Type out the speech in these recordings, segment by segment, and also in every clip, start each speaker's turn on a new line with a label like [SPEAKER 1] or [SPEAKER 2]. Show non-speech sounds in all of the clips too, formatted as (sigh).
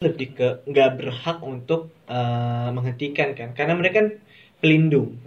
[SPEAKER 1] lebih ke nggak berhak untuk eh, menghentikan kan karena mereka kan pelindung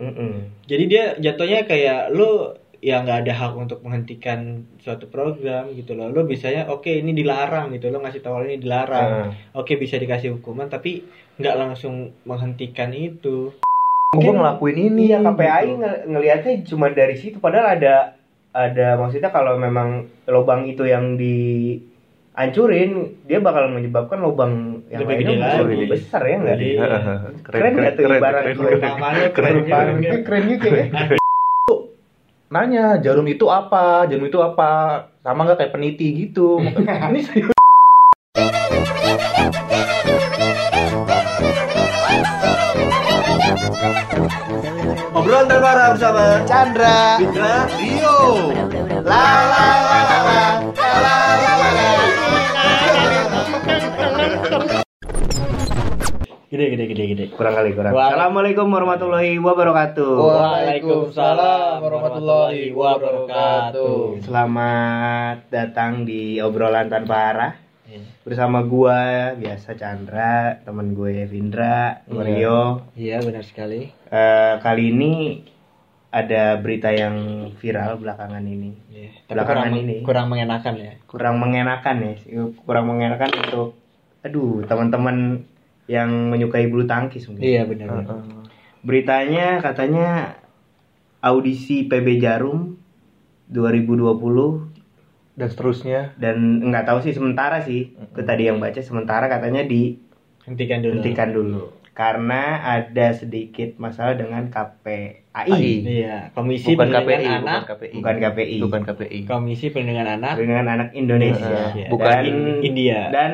[SPEAKER 1] jadi dia jatuhnya kayak lu ya nggak ada hak untuk menghentikan suatu program gitu loh lu bisanya oke ini dilarang gitu lo ngasih tahu ini dilarang
[SPEAKER 2] Nah,
[SPEAKER 1] oke bisa dikasih hukuman tapi nggak langsung menghentikan itu
[SPEAKER 2] gue
[SPEAKER 3] Mungkin-
[SPEAKER 2] ngelakuin ini
[SPEAKER 3] Iya KPAI
[SPEAKER 2] gitu.
[SPEAKER 3] ngel- ngelihatnya cuma dari situ padahal ada ada maksudnya kalau memang lubang itu yang dihancurin dia bakal menyebabkan lubang yang
[SPEAKER 1] Lebih gede
[SPEAKER 3] lainnya
[SPEAKER 1] lagi.
[SPEAKER 3] lebih besar ya nggak?
[SPEAKER 1] Jadi-
[SPEAKER 2] Iya.
[SPEAKER 3] Keren nggak tuh ibarat
[SPEAKER 2] keren,
[SPEAKER 3] gue?
[SPEAKER 2] keren.
[SPEAKER 1] Pertamanya
[SPEAKER 2] Keren,
[SPEAKER 1] keren,
[SPEAKER 2] keren.
[SPEAKER 1] keren.
[SPEAKER 3] keren juga
[SPEAKER 2] (laughs)
[SPEAKER 3] ya.
[SPEAKER 2] Nah, nanya jarum itu apa jarum itu apa sama nggak kayak peniti
[SPEAKER 3] (laughs)
[SPEAKER 2] gitu ini serius
[SPEAKER 4] Obrolan terbaru bersama Chandra, Fitra, Rio. La la la la la la la la
[SPEAKER 1] gede gede gede gede
[SPEAKER 3] Kurang kali kurang.
[SPEAKER 1] Wah.
[SPEAKER 3] Assalamualaikum warahmatullahi wabarakatuh.
[SPEAKER 1] Waalaikumsalam warahmatullahi wabarakatuh.
[SPEAKER 3] Selamat datang di obrolan tanpa arah
[SPEAKER 1] Iya.
[SPEAKER 3] bersama gua biasa Chandra, temen gue Vindra,
[SPEAKER 1] Iya.
[SPEAKER 3] Mario.
[SPEAKER 1] Iya benar sekali.
[SPEAKER 3] Eh, kali ini ada berita yang viral belakangan ini.
[SPEAKER 1] Tapi
[SPEAKER 3] Belakangan
[SPEAKER 1] kurang,
[SPEAKER 3] ini.
[SPEAKER 1] kurang mengenakan ya.
[SPEAKER 3] Kurang mengenakan ya, kurang mengenakan untuk aduh teman-teman yang menyukai bulu tangkis mungkin.
[SPEAKER 1] Iya benar.
[SPEAKER 3] Beritanya katanya audisi PB Jarum 2020
[SPEAKER 2] dan seterusnya
[SPEAKER 3] dan nggak tahu sih sementara sih. Itu tadi yang baca sementara katanya
[SPEAKER 1] Hentikan dulu.
[SPEAKER 3] dihentikan dulu karena ada sedikit masalah dengan KPAI,
[SPEAKER 2] AI.
[SPEAKER 1] Iya, Komisi
[SPEAKER 2] bukan
[SPEAKER 1] Perlindungan
[SPEAKER 2] KPI
[SPEAKER 1] Anak,
[SPEAKER 2] bukan KPI
[SPEAKER 3] bukan KPI.
[SPEAKER 2] bukan KPI
[SPEAKER 1] Komisi Perlindungan Anak
[SPEAKER 3] Perlindungan Anak Indonesia
[SPEAKER 1] Iya,
[SPEAKER 2] bukan
[SPEAKER 3] dan
[SPEAKER 1] In- India.
[SPEAKER 3] dan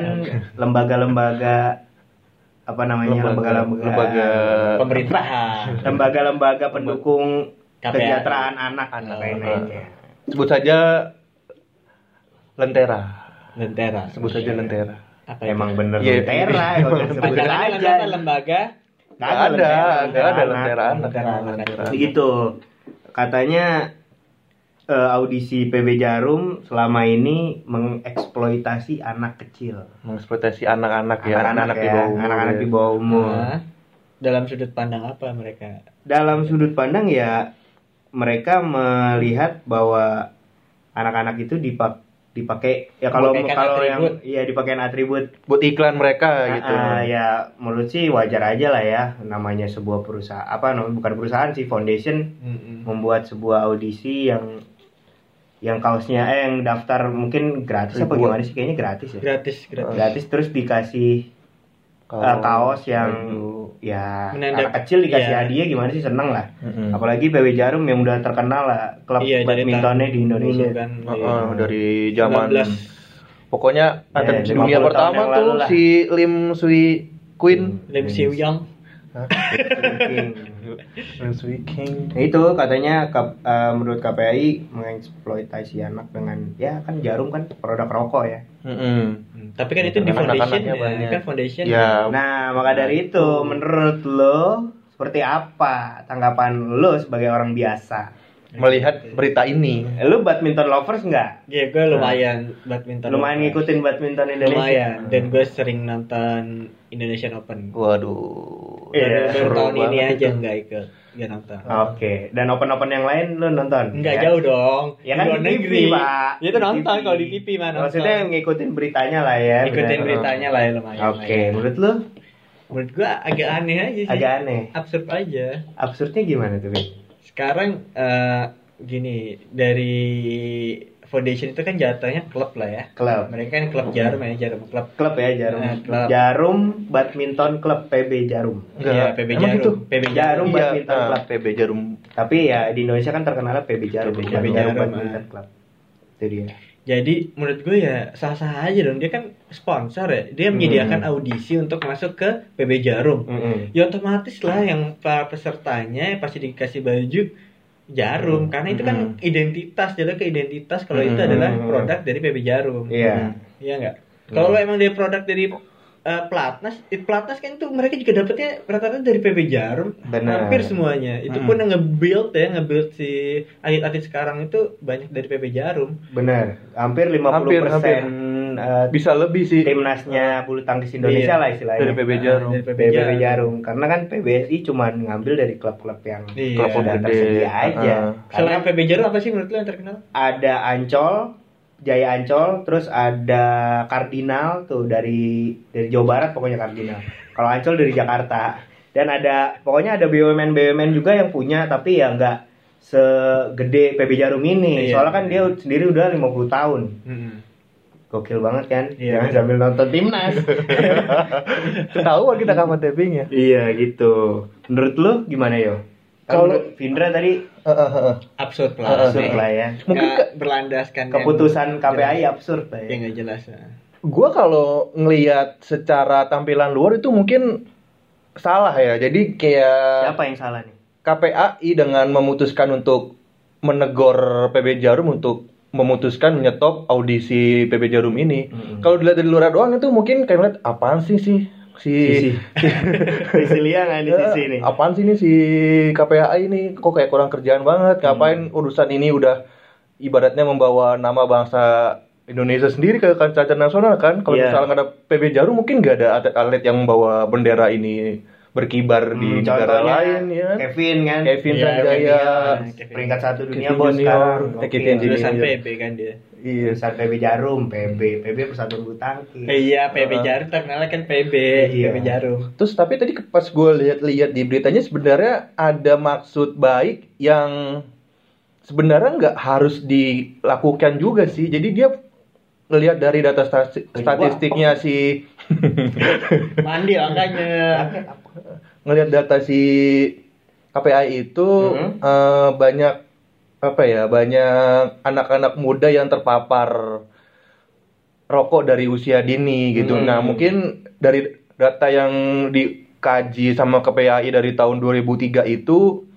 [SPEAKER 3] lembaga-lembaga apa namanya
[SPEAKER 2] lembaga
[SPEAKER 3] lembaga-lembaga
[SPEAKER 1] pemerintahan
[SPEAKER 3] lembaga-lembaga pendukung
[SPEAKER 1] KPAI.
[SPEAKER 3] kesejahteraan anak ya.
[SPEAKER 2] Anak.
[SPEAKER 3] lain-lainnya.
[SPEAKER 2] sebut saja lentera
[SPEAKER 1] Lentera. Iya.
[SPEAKER 2] sebut saja lentera
[SPEAKER 1] Apa itu?
[SPEAKER 3] Emang bener
[SPEAKER 2] Iya, (laughs)
[SPEAKER 3] Lentera
[SPEAKER 2] iya.
[SPEAKER 3] emang sebut
[SPEAKER 1] Pacarnya
[SPEAKER 3] aja.
[SPEAKER 1] lembaga, lembaga
[SPEAKER 2] nggak ada nggak ada lentera anak
[SPEAKER 1] Lentera anak.
[SPEAKER 2] Lentera anak.
[SPEAKER 3] Begitu. Katanya eh, audisi PB Jarum selama ini mengeksploitasi anak kecil.
[SPEAKER 2] mengeksploitasi anak-anak ya
[SPEAKER 3] Anak-anak ya, anak-anak
[SPEAKER 2] iya.
[SPEAKER 3] di bawah umur.
[SPEAKER 1] Nah, dalam sudut pandang apa mereka?
[SPEAKER 3] Dalam sudut pandang ya mereka melihat bahwa anak-anak itu dipak dipakai ya kalau
[SPEAKER 1] Dipakaikan
[SPEAKER 3] kalau
[SPEAKER 1] atribut.
[SPEAKER 3] yang iya dipakai atribut
[SPEAKER 2] buat iklan mereka gitu
[SPEAKER 3] Ah, ya menurut sih wajar aja lah ya namanya sebuah perusahaan apa namanya bukan perusahaan sih foundation membuat sebuah audisi yang yang kaosnya eh yang daftar mungkin gratis apa
[SPEAKER 2] Ribuan.
[SPEAKER 3] gimana sih kayaknya gratis ya
[SPEAKER 1] Gratis, gratis.
[SPEAKER 3] gratis terus dikasih eh, kaos yang ya
[SPEAKER 1] Menandak-
[SPEAKER 3] anak kecil dikasih
[SPEAKER 1] iya.
[SPEAKER 3] hadiah gimana sih seneng lah
[SPEAKER 2] Mm-mm.
[SPEAKER 3] apalagi PW Jarum yang udah terkenal lah klub
[SPEAKER 1] Iya, dari
[SPEAKER 3] badmintonnya di
[SPEAKER 1] tahun
[SPEAKER 3] Indonesia
[SPEAKER 1] dulu kan.
[SPEAKER 2] Heeh,
[SPEAKER 1] iya.
[SPEAKER 2] Oh, dari zaman
[SPEAKER 1] 19.
[SPEAKER 2] pokoknya
[SPEAKER 3] Ya,
[SPEAKER 2] ada
[SPEAKER 3] 50
[SPEAKER 2] dunia
[SPEAKER 3] tahun
[SPEAKER 2] pertama
[SPEAKER 3] yang
[SPEAKER 2] tuh
[SPEAKER 3] lalu lah.
[SPEAKER 2] si Lim Sui Queen
[SPEAKER 1] Lim Siu Yang.
[SPEAKER 2] Lim Sui King
[SPEAKER 3] Nah, itu katanya kap- eh, menurut KPI mengeksploitasi anak dengan ya kan jarum kan produk rokok ya
[SPEAKER 2] Mm-mm.
[SPEAKER 1] Hmm, Tapi kan itu di
[SPEAKER 2] Anak-anaknya
[SPEAKER 1] foundation ya,
[SPEAKER 2] banyak.
[SPEAKER 1] kan foundation.
[SPEAKER 2] ya
[SPEAKER 3] Nah, maka dari itu, menurut lo seperti apa tanggapan lo sebagai orang biasa?
[SPEAKER 2] melihat berita ini
[SPEAKER 3] Lo badminton lovers nggak?
[SPEAKER 1] Iya, gue lumayan badminton.
[SPEAKER 3] Lumayan ngikutin badminton Indonesia.
[SPEAKER 1] Lumayan. Dan gue sering nonton Indonesian Open.
[SPEAKER 2] waduh
[SPEAKER 3] Iya,
[SPEAKER 1] Baru- baru
[SPEAKER 2] seru
[SPEAKER 1] tahun ini
[SPEAKER 2] banget
[SPEAKER 1] aja
[SPEAKER 2] itu. Ah,
[SPEAKER 1] nggak ikut, nggak nonton.
[SPEAKER 3] Oke, dan open-open yang lain lo nonton?
[SPEAKER 1] Nggak
[SPEAKER 3] Ya?
[SPEAKER 1] jauh dong.
[SPEAKER 3] Ya kan
[SPEAKER 1] Luar
[SPEAKER 3] di TV, Pak.
[SPEAKER 1] Ya itu
[SPEAKER 3] Di
[SPEAKER 1] nonton
[SPEAKER 3] TV.
[SPEAKER 1] kalau di TV mana.
[SPEAKER 3] Maksudnya ngikutin beritanya lah ya.
[SPEAKER 2] Iya,
[SPEAKER 1] ikutin
[SPEAKER 3] benar.
[SPEAKER 1] beritanya lah ya lumayan.
[SPEAKER 3] Oke, menurut lo
[SPEAKER 1] Menurut gue agak aneh aja Iya sih.
[SPEAKER 3] agak aneh.
[SPEAKER 1] absurd aja.
[SPEAKER 3] Absurdnya gimana tuh? Bin?
[SPEAKER 1] Sekarang eh, gini dari foundation itu kan jatahnya klub lah ya.
[SPEAKER 3] Klub.
[SPEAKER 1] Mereka kan klub jarum ya, jarum klub.
[SPEAKER 3] Klub ya jarum.
[SPEAKER 1] Nah, klub.
[SPEAKER 3] Jarum badminton klub PB Jarum.
[SPEAKER 2] Enggak.
[SPEAKER 1] Iya, PB
[SPEAKER 2] Emang
[SPEAKER 1] Jarum.
[SPEAKER 2] gitu?
[SPEAKER 1] PB
[SPEAKER 3] Jarum
[SPEAKER 2] Iya,
[SPEAKER 3] badminton
[SPEAKER 2] nah,
[SPEAKER 3] club.
[SPEAKER 2] PB Jarum
[SPEAKER 3] Tapi ya di Indonesia kan terkenal PB Jarum.
[SPEAKER 2] PB
[SPEAKER 3] bukan
[SPEAKER 1] Jarum. ah.
[SPEAKER 3] badminton club. Itu dia.
[SPEAKER 1] Jadi menurut gue ya sah-sah aja dong. Dia kan sponsor ya. Dia menyediakan
[SPEAKER 2] Hmm.
[SPEAKER 1] audisi untuk masuk ke PB Jarum. Ya otomatis lah yang para pesertanya pasti dikasih baju Jarum
[SPEAKER 3] Hmm.
[SPEAKER 1] karena itu kan
[SPEAKER 2] Mm-mm.
[SPEAKER 1] identitas. Jadi ke identitas kalau itu
[SPEAKER 2] Mm-mm.
[SPEAKER 1] adalah produk dari PB Jarum.
[SPEAKER 3] Iya.
[SPEAKER 1] Iya nggak? Kalau lo emang dari produk dari eh, Platnas, eh, Platnas kan itu mereka juga dapetnya rata-rata dari PB Jarum,
[SPEAKER 3] Benar. Hmm.
[SPEAKER 1] hampir semuanya. Itu
[SPEAKER 2] Mm.
[SPEAKER 1] pun yang nge-build ya, nge-build si atlet-atlet sekarang itu banyak dari PB Jarum.
[SPEAKER 3] Benar. Hampir 50%
[SPEAKER 2] Hampir, hampir.
[SPEAKER 3] eh,
[SPEAKER 2] Bisa lebih sih.
[SPEAKER 3] timnasnya bulu tangkis
[SPEAKER 1] Iya.
[SPEAKER 3] Indonesia lah istilahnya.
[SPEAKER 2] Dari PB Jarum.
[SPEAKER 1] Dari
[SPEAKER 3] PB
[SPEAKER 1] PB
[SPEAKER 3] Jarum. Karena kan PBSI cuman ngambil dari klub-klub yang
[SPEAKER 1] Iya. Ah,
[SPEAKER 2] Klub-klub
[SPEAKER 3] sudah
[SPEAKER 2] gede.
[SPEAKER 3] tersedia aja.
[SPEAKER 2] Heeh.
[SPEAKER 3] Karena
[SPEAKER 1] Selain PB Jarum apa sih menurut lo yang terkenal?
[SPEAKER 3] ada Ancol, Jaya Ancol, terus ada Kardinal tuh dari dari Jawa Barat pokoknya Kardinal. Kalau Ancol dari Jakarta. Dan ada pokoknya ada BUMN BUMN juga yang punya tapi ya nggak segede PB Jarum ini.
[SPEAKER 1] Iya.
[SPEAKER 3] Soalnya kan dia sendiri udah 50 tahun. Gokil banget kan?
[SPEAKER 1] Iya.
[SPEAKER 3] Jangan sambil nonton timnas.
[SPEAKER 1] (laughs)
[SPEAKER 2] Ketahuan kita kapan tappingnya. (laughs)
[SPEAKER 3] iya gitu. Menurut lu gimana yo?
[SPEAKER 2] Kalau- Ah, iya.
[SPEAKER 3] Kalau Vindra tadi
[SPEAKER 2] Heeh, heeh.
[SPEAKER 1] Absurd lah.
[SPEAKER 3] absurd lah ya.
[SPEAKER 1] Mungkin
[SPEAKER 2] Mungkin ke-
[SPEAKER 1] berlandaskan yang-
[SPEAKER 3] Keputusan
[SPEAKER 2] Iya.
[SPEAKER 3] KPI absurd lah ya.
[SPEAKER 1] yang nggak jelas. nah.
[SPEAKER 2] gua kalau ngelihat secara tampilan luar itu mungkin salah ya. Jadi kayak
[SPEAKER 3] Siapa yang salah nih?
[SPEAKER 2] KPAI dengan memutuskan untuk menegur PB Jarum untuk memutuskan menyetop audisi PB Jarum ini.
[SPEAKER 3] Mm-mm.
[SPEAKER 2] Kalau dilihat dari luar doang itu mungkin kayak ngeliat apaan sih sih si
[SPEAKER 3] sisi (laughs) sisi liangan di sisi ini
[SPEAKER 2] Eh, apaan sih ini si KPAI ini kok kayak kurang kerjaan banget. Ngapain urusan ini udah ibaratnya membawa nama bangsa Indonesia sendiri ke kancah internasional kan. Kalau
[SPEAKER 3] Iya.
[SPEAKER 2] misalnya nggak ada PB Jarum mungkin nggak ada atlet-atlet yang membawa bendera ini berkibar di
[SPEAKER 3] Hmm,
[SPEAKER 2] negara
[SPEAKER 3] contohnya
[SPEAKER 2] lain ya. kan?
[SPEAKER 3] Kevin kan
[SPEAKER 2] Kevin
[SPEAKER 1] Iya,
[SPEAKER 2] Sanjaya
[SPEAKER 1] Kevin Jalan.
[SPEAKER 3] peringkat satu dunia
[SPEAKER 2] Kevin
[SPEAKER 3] bos
[SPEAKER 2] Junior,
[SPEAKER 3] sekarang
[SPEAKER 2] eh, Kevin
[SPEAKER 3] Gokil.
[SPEAKER 2] Junior.
[SPEAKER 1] Jurusan
[SPEAKER 2] Iya.
[SPEAKER 1] PB kan dia.
[SPEAKER 2] iya
[SPEAKER 3] jurusan PB Jarum PB PB Persatuan Bulu Tangkis
[SPEAKER 1] Eh, Iya, PB Jarum terkenalnya kan PB,
[SPEAKER 3] Hmm. Iya.
[SPEAKER 1] PB Jarum.
[SPEAKER 2] terus tapi tadi ke- pas gue lihat-lihat di beritanya sebenarnya ada maksud baik yang sebenarnya nggak harus dilakukan juga sih jadi dia ngelihat dari data stasi- statistiknya si
[SPEAKER 1] Mandi
[SPEAKER 3] (laughs)
[SPEAKER 1] angkanya.
[SPEAKER 3] Rakyat apa?
[SPEAKER 2] ngelihat data si KPI itu
[SPEAKER 3] Mhm.
[SPEAKER 2] eh, banyak apa ya banyak anak-anak muda yang terpapar rokok dari usia dini gitu.
[SPEAKER 3] Hmm.
[SPEAKER 2] Nah mungkin dari data yang dikaji sama KPI dari tahun 2003 itu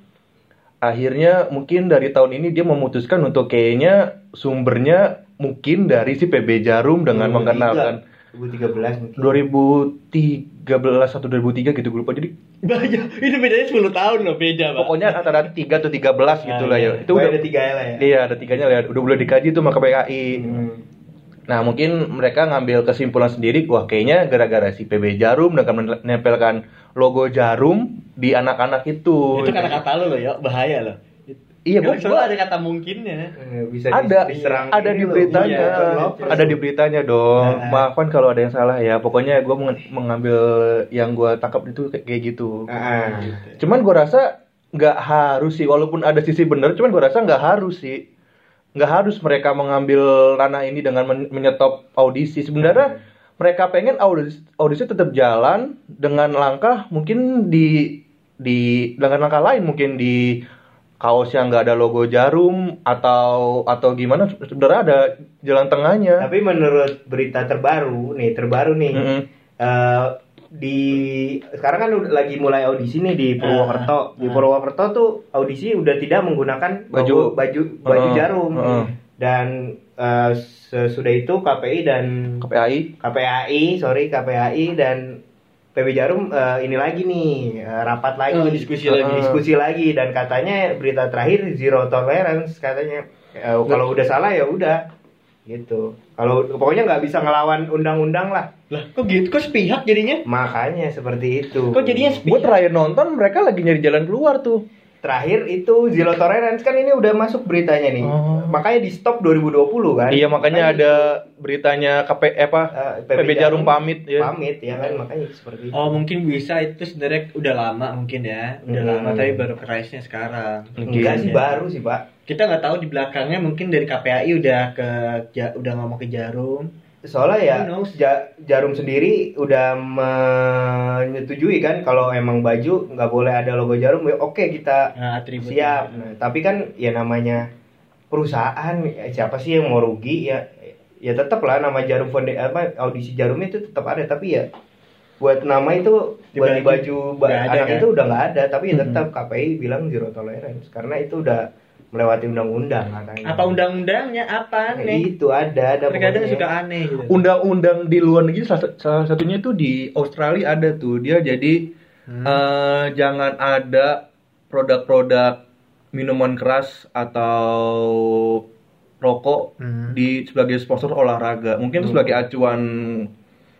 [SPEAKER 2] akhirnya mungkin dari tahun ini dia memutuskan untuk kayaknya sumbernya mungkin dari si PB Jarum dengan
[SPEAKER 3] Mm-hmm.
[SPEAKER 2] mengenalkan
[SPEAKER 3] 2013 mungkin
[SPEAKER 2] 2013 atau 2003 gitu gue lupa jadi
[SPEAKER 1] Banyak. ya, Ini bedanya 10 tahun loh, beda, Pak.
[SPEAKER 2] pokoknya antara 3 atau 13 gitu
[SPEAKER 1] Ah,
[SPEAKER 2] lah ya
[SPEAKER 1] iya.
[SPEAKER 2] itu
[SPEAKER 3] Wah,
[SPEAKER 2] udah
[SPEAKER 3] ada tiga ya lah ya
[SPEAKER 2] iya ada tiganya lah ya. udah boleh dikaji tuh sama KPAI
[SPEAKER 3] Hmm.
[SPEAKER 2] nah mungkin mereka ngambil kesimpulan sendiri wah kayaknya gara-gara si PB Jarum dengan menempelkan logo Jarum di anak-anak itu
[SPEAKER 1] itu kata-kata lu loh, ya, bahaya loh.
[SPEAKER 2] iya
[SPEAKER 1] Gua,
[SPEAKER 2] gua, gua-
[SPEAKER 1] ada kata mungkinnya.
[SPEAKER 3] Eh, bisa dis-
[SPEAKER 2] ada
[SPEAKER 3] diserang
[SPEAKER 2] ada
[SPEAKER 3] ini
[SPEAKER 2] di
[SPEAKER 3] loh.
[SPEAKER 2] beritanya
[SPEAKER 3] Iya, lovers.
[SPEAKER 2] ada di beritanya dong
[SPEAKER 3] Nah.
[SPEAKER 2] maafkan kalau ada yang salah ya pokoknya gue mengambil yang gue tangkap itu kayak- kayak gitu
[SPEAKER 3] Ah, ah.
[SPEAKER 2] Cuman gue rasa nggak harus sih, walaupun ada sisi bener, cuman gue rasa nggak harus sih. Nggak harus mereka mengambil ranah ini dengan men- menyetop audisi. Sebenarnya mereka pengen audisi, audisi tetap jalan dengan langkah mungkin di di dengan langkah lain mungkin di kaos yang nggak ada logo jarum atau atau gimana sebenarnya ada jalan tengahnya.
[SPEAKER 3] tapi menurut berita terbaru nih terbaru nih
[SPEAKER 2] Mm-mm.
[SPEAKER 3] eh di sekarang kan udah- lagi mulai audisi nih di Purwokerto.
[SPEAKER 1] Ah.
[SPEAKER 3] Di Purwokerto tuh audisi udah tidak menggunakan
[SPEAKER 2] Baju.
[SPEAKER 3] logo- baju baju
[SPEAKER 2] Ah,
[SPEAKER 3] jarum.
[SPEAKER 2] ah.
[SPEAKER 3] Dan eh, sesudah itu KPI dan
[SPEAKER 2] KPAI
[SPEAKER 3] KPAI, sorry KPAI dan PB Jarum eh, ini lagi nih eh, rapat lagi
[SPEAKER 1] Oh, diskusi
[SPEAKER 2] lagi.
[SPEAKER 3] diskusi lagi dan katanya berita terakhir zero tolerance katanya Eh, kalau udah salah ya udah gitu. Kalau pokoknya nggak bisa ngelawan undang-undang lah.
[SPEAKER 1] Lah, kok gitu? Kok sepihak jadinya?
[SPEAKER 3] Makanya seperti itu.
[SPEAKER 1] Kok jadinya
[SPEAKER 2] gue
[SPEAKER 1] sepihak?
[SPEAKER 2] terakhir nonton mereka lagi nyari jalan keluar tuh
[SPEAKER 3] terakhir itu zero tolerance kan ini udah masuk beritanya nih.
[SPEAKER 2] Oh.
[SPEAKER 3] Makanya di stop 2020 kan.
[SPEAKER 2] iya makanya ada beritanya KP eh, apa
[SPEAKER 3] eh,
[SPEAKER 2] PB Jarum pamit, ya.
[SPEAKER 3] Pamit ya kan makanya seperti itu.
[SPEAKER 1] Oh, mungkin bisa itu sebenarnya udah lama mungkin ya. Udah
[SPEAKER 3] Hmm.
[SPEAKER 1] lama tapi baru crash-nya sekarang.
[SPEAKER 3] Enggak
[SPEAKER 1] Iya.
[SPEAKER 3] sih
[SPEAKER 2] ya.
[SPEAKER 3] baru sih, Pak.
[SPEAKER 1] Kita nggak tahu di belakangnya mungkin dari KPAI udah ke ja- udah ngomong ke Jarum.
[SPEAKER 3] Soalnya ya
[SPEAKER 1] Who knows?
[SPEAKER 3] Ja- Jarum sendiri udah menyetujui kan kalau emang baju nggak boleh ada logo Jarum, ya oke kita
[SPEAKER 1] Nah, atribut.
[SPEAKER 3] siap. Nah, tapi kan ya namanya perusahaan ya siapa sih yang mau rugi ya ya tetap lah nama Jarum Fonde apa audisi Jarum itu tetap ada tapi ya buat nama itu
[SPEAKER 1] Di
[SPEAKER 3] buat di
[SPEAKER 1] baju
[SPEAKER 3] baju ba-
[SPEAKER 1] nggak ada,
[SPEAKER 3] anak
[SPEAKER 1] kan?
[SPEAKER 3] itu udah nggak ada tapi ya tetap KPI bilang zero tolerance karena itu udah melewati undang-undang katanya.
[SPEAKER 1] Apa undang-undangnya apa
[SPEAKER 3] Nah,
[SPEAKER 1] nih?
[SPEAKER 3] itu ada ada
[SPEAKER 1] Terkadang
[SPEAKER 3] pokoknya.
[SPEAKER 1] suka aneh gitu.
[SPEAKER 2] undang-undang di luar negeri salah, salah satunya itu di Australia ada tuh dia jadi eh, jangan ada produk-produk minuman keras atau rokok
[SPEAKER 1] Hmm.
[SPEAKER 2] di sebagai sponsor olahraga. Mungkin itu sebagai acuan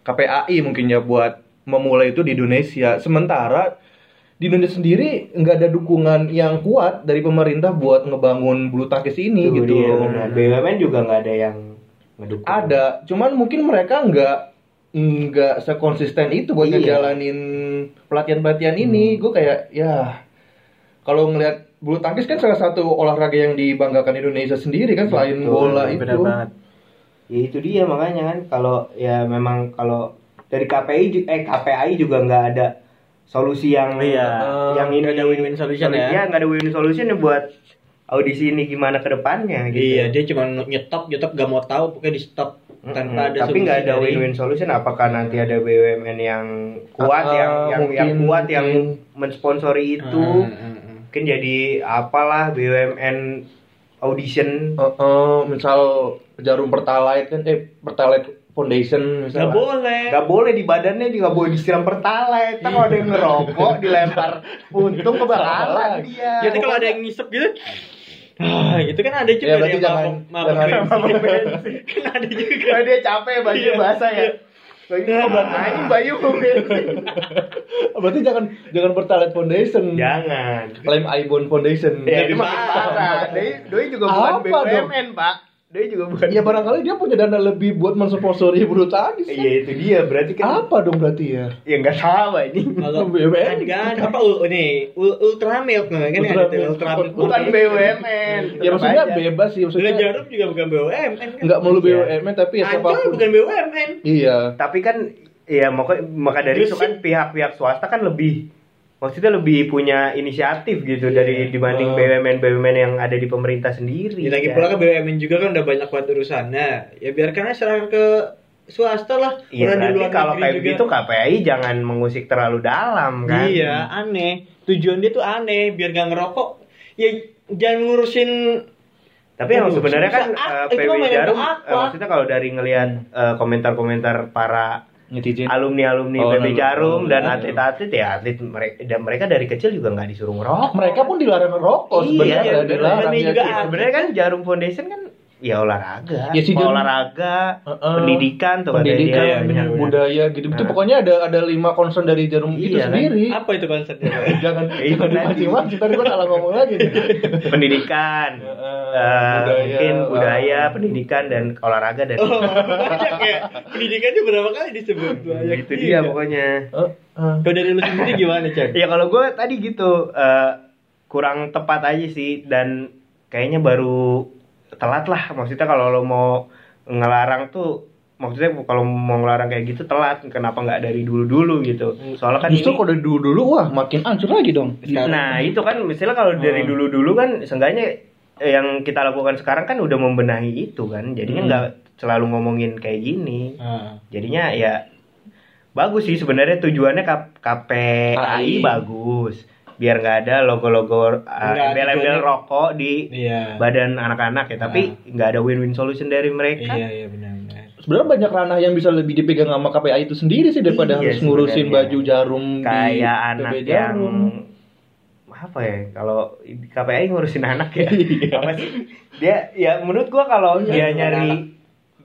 [SPEAKER 2] KPAI mungkin ya buat memulai itu di Indonesia. Sementara di Indonesia sendiri nggak ada dukungan yang kuat dari pemerintah buat ngebangun bulu tangkis
[SPEAKER 1] Iya,
[SPEAKER 2] ini
[SPEAKER 3] Itu
[SPEAKER 2] gitu.
[SPEAKER 3] dia,
[SPEAKER 2] loh.
[SPEAKER 3] iya, benar. BUMN juga nggak ada yang ngedukung.
[SPEAKER 2] Ada, cuman mungkin mereka nggak nggak sekonsisten itu buat
[SPEAKER 3] Iya.
[SPEAKER 2] ngejalanin pelatihan-pelatihan ini. Gue kayak ya kalau ngelihat bulu tangkis kan salah satu olahraga yang dibanggakan Indonesia sendiri kan selain
[SPEAKER 3] Betul,
[SPEAKER 2] bola itu.
[SPEAKER 4] Benar banget.
[SPEAKER 3] Ya itu dia makanya kan kalau ya memang kalau dari KPI ju- eh KPI juga nggak ada solusi yang
[SPEAKER 4] Iya.
[SPEAKER 3] yang ini
[SPEAKER 1] Nggak ada win-win solution ya.
[SPEAKER 3] Iya, nggak ada win-win solution buat audisi ini gimana ke depannya gitu.
[SPEAKER 1] Iya, dia cuma nyetop, nyetop gak mau tahu, pokoknya di stop tanpa
[SPEAKER 3] Mm-mm.
[SPEAKER 1] ada
[SPEAKER 3] tapi nggak
[SPEAKER 1] solusi
[SPEAKER 3] ada
[SPEAKER 1] dari-
[SPEAKER 3] win-win solution apakah nanti ada BUMN yang kuat
[SPEAKER 2] Ah,
[SPEAKER 3] yang yang, yang
[SPEAKER 2] mungkin-
[SPEAKER 3] kuat yang
[SPEAKER 2] mungkin.
[SPEAKER 3] mensponsori itu
[SPEAKER 1] Hmm, hmm, hmm.
[SPEAKER 3] mungkin jadi apalah BUMN audition
[SPEAKER 2] Eh, eh, misal jarum pertalite kan eh pertalite foundation
[SPEAKER 1] Nggak
[SPEAKER 2] misalnya.
[SPEAKER 1] boleh.
[SPEAKER 3] Gak boleh di badannya juga nggak boleh disiram pertalite. Ntar kalau ada yang ngerokok dilempar untung kebakaran dia.
[SPEAKER 1] Jadi Iya, kalau ada yang ngisep gitu, ah, gitu kan ada juga
[SPEAKER 2] Ya,
[SPEAKER 1] ada
[SPEAKER 2] berarti
[SPEAKER 1] yang
[SPEAKER 2] jangan-
[SPEAKER 1] mabok
[SPEAKER 2] jangan-
[SPEAKER 1] mabok bensin. (laughs) kan ada juga.
[SPEAKER 3] Kalau dia capek baju
[SPEAKER 1] Iya,
[SPEAKER 3] basah ya.
[SPEAKER 1] iya.
[SPEAKER 3] Baju kok basah bayu kok bensin.
[SPEAKER 2] Berarti jangan jangan pertalite foundation.
[SPEAKER 3] Jangan.
[SPEAKER 2] Klaim iBond Foundation.
[SPEAKER 3] Ya,
[SPEAKER 1] Jadi
[SPEAKER 3] itu makin
[SPEAKER 1] parah.
[SPEAKER 3] parah. Doi, doi juga bukan
[SPEAKER 2] Apa dong?
[SPEAKER 3] BUMN, Pak. Doi juga bukan.
[SPEAKER 2] (laughs) Ya barangkali dia punya dana lebih buat mensponsori bulu tangkis. kan?
[SPEAKER 3] Iya, itu dia. Berarti kan
[SPEAKER 2] Apa dong berarti ya?
[SPEAKER 3] ya nggak sama ini.
[SPEAKER 1] Kalau
[SPEAKER 2] BUMN.
[SPEAKER 1] BUMN kan apa ul ini ul- ultra milk kan ada tuh,
[SPEAKER 2] Ultramilk.
[SPEAKER 1] ultra milk.
[SPEAKER 3] Bukan BUMN.
[SPEAKER 2] Ya maksudnya
[SPEAKER 3] Tetap aja.
[SPEAKER 2] bebas sih
[SPEAKER 1] Gula
[SPEAKER 2] maksudnya.
[SPEAKER 1] jarum juga bukan BUMN kan.
[SPEAKER 2] Enggak melulu
[SPEAKER 3] Iya.
[SPEAKER 2] BUMN tapi ya
[SPEAKER 1] Ancol
[SPEAKER 2] siapapun.
[SPEAKER 1] bukan BUMN.
[SPEAKER 2] Iya.
[SPEAKER 3] tapi kan ya maka, maka dari itu
[SPEAKER 1] Gresik.
[SPEAKER 3] kan pihak-pihak swasta kan lebih maksudnya lebih punya inisiatif gitu
[SPEAKER 1] Iya,
[SPEAKER 3] dari dibanding
[SPEAKER 2] Oh.
[SPEAKER 3] BUMN BUMN yang ada di pemerintah sendiri.
[SPEAKER 1] Ya, lagi
[SPEAKER 3] kan.
[SPEAKER 1] pula kan BUMN juga kan udah banyak banget urusannya. Ya biarkan aja serahkan ke swasta lah.
[SPEAKER 3] Iya
[SPEAKER 1] Orang di
[SPEAKER 3] berarti
[SPEAKER 1] luar
[SPEAKER 3] kalau
[SPEAKER 1] negeri
[SPEAKER 3] kayak
[SPEAKER 1] juga.
[SPEAKER 3] begitu kan? KPI jangan mengusik terlalu dalam kan.
[SPEAKER 1] Iya, aneh. Tujuan dia tuh aneh, biar gak ngerokok. Ya jangan ngurusin
[SPEAKER 3] Tapi yang
[SPEAKER 1] Aduh,
[SPEAKER 3] sebenarnya kan
[SPEAKER 1] susah.
[SPEAKER 3] eh,
[SPEAKER 1] Ah, itu
[SPEAKER 3] PW
[SPEAKER 1] mah mainan
[SPEAKER 3] Jarum
[SPEAKER 1] untuk apa?
[SPEAKER 3] eh, maksudnya kalau dari ngelihat eh, komentar-komentar para
[SPEAKER 1] Iya.
[SPEAKER 2] Netizen.
[SPEAKER 3] alumni-alumni
[SPEAKER 2] Oh,
[SPEAKER 3] PB
[SPEAKER 2] alumni.
[SPEAKER 3] Jarum dan
[SPEAKER 2] Alumni.
[SPEAKER 3] atlet-atlet ya atlet mereka dan mereka dari kecil juga nggak disuruh ngerokok.
[SPEAKER 2] Mereka pun dilarang merokok
[SPEAKER 3] Iya,
[SPEAKER 2] sebenarnya
[SPEAKER 3] iya,
[SPEAKER 2] dilarang
[SPEAKER 1] ini
[SPEAKER 2] ya.
[SPEAKER 1] juga
[SPEAKER 2] Ki.
[SPEAKER 1] ada.
[SPEAKER 3] sebenarnya kan jarum foundation kan ya olahraga
[SPEAKER 2] Ya sih,
[SPEAKER 3] Mau
[SPEAKER 2] Jarum.
[SPEAKER 3] olahraga
[SPEAKER 2] Heeh.
[SPEAKER 3] pendidikan tuh katanya
[SPEAKER 2] Pendidikan,
[SPEAKER 3] dia. iya,
[SPEAKER 2] bener,
[SPEAKER 3] Bener-bener.
[SPEAKER 2] budaya gitu-gitu
[SPEAKER 3] Nah.
[SPEAKER 2] pokoknya ada ada lima concern dari jarum
[SPEAKER 3] Iya,
[SPEAKER 2] itu
[SPEAKER 3] kan?
[SPEAKER 2] sendiri.
[SPEAKER 1] apa itu konsepnya?
[SPEAKER 2] (laughs) jangan
[SPEAKER 3] Eh, itu
[SPEAKER 2] jangan
[SPEAKER 3] tadi.
[SPEAKER 2] dimaki-maki tadi gua salah ngomong
[SPEAKER 3] (laughs)
[SPEAKER 2] lagi nih.
[SPEAKER 3] pendidikan
[SPEAKER 2] Heeh,
[SPEAKER 3] Eh,
[SPEAKER 2] budaya,
[SPEAKER 3] mungkin budaya
[SPEAKER 2] heeh.
[SPEAKER 3] pendidikan dan olahraga dan (laughs)
[SPEAKER 1] Oh, banyak ya. Pendidikannya berapa kali disebut? Banyak
[SPEAKER 3] itu Gitu
[SPEAKER 2] Iya,
[SPEAKER 3] dia
[SPEAKER 1] juga.
[SPEAKER 3] pokoknya
[SPEAKER 2] Heeh.
[SPEAKER 1] Kalau dari lu sendiri gimana, Chan?
[SPEAKER 3] ya kalau gue tadi gitu eh, kurang tepat aja sih dan kayaknya baru telat lah maksudnya kalau lo mau ngelarang tuh maksudnya kalau mau ngelarang kayak gitu telat kenapa nggak dari dulu dulu gitu
[SPEAKER 2] Hmm.
[SPEAKER 3] soalnya kan
[SPEAKER 2] Justru
[SPEAKER 3] ini-
[SPEAKER 2] kalau dari dulu-dulu wah makin hancur lagi dong.
[SPEAKER 1] Gitu.
[SPEAKER 3] Nah
[SPEAKER 1] Hmm.
[SPEAKER 3] itu kan misalnya kalau dari dulu-dulu kan seenggaknya eh, yang kita lakukan sekarang kan udah membenahi itu kan jadinya
[SPEAKER 1] Hmm.
[SPEAKER 3] nggak selalu ngomongin kayak gini jadinya ya bagus sih sebenarnya tujuannya K- KPAI
[SPEAKER 2] AI.
[SPEAKER 3] bagus biar nggak ada
[SPEAKER 1] Nggak,
[SPEAKER 3] logo-logo uh, embel
[SPEAKER 1] tujuannya-
[SPEAKER 3] rokok di
[SPEAKER 1] Iya. Nah.
[SPEAKER 3] badan anak-anak ya tapi nggak ada win-win solution dari mereka
[SPEAKER 1] Iya, iya benar-benar.
[SPEAKER 2] sebenarnya banyak ranah yang bisa lebih dipegang sama KPI itu sendiri sih daripada
[SPEAKER 3] Iya,
[SPEAKER 2] harus ngurusin
[SPEAKER 3] sebenarnya.
[SPEAKER 2] baju jarum di
[SPEAKER 3] kayak
[SPEAKER 2] BB
[SPEAKER 3] anak yang
[SPEAKER 2] jarum.
[SPEAKER 3] apa ya kalau KPI ngurusin anak ya apa sih dia ya menurut gua kalau dia
[SPEAKER 1] ngurusin
[SPEAKER 3] nyari
[SPEAKER 1] anak.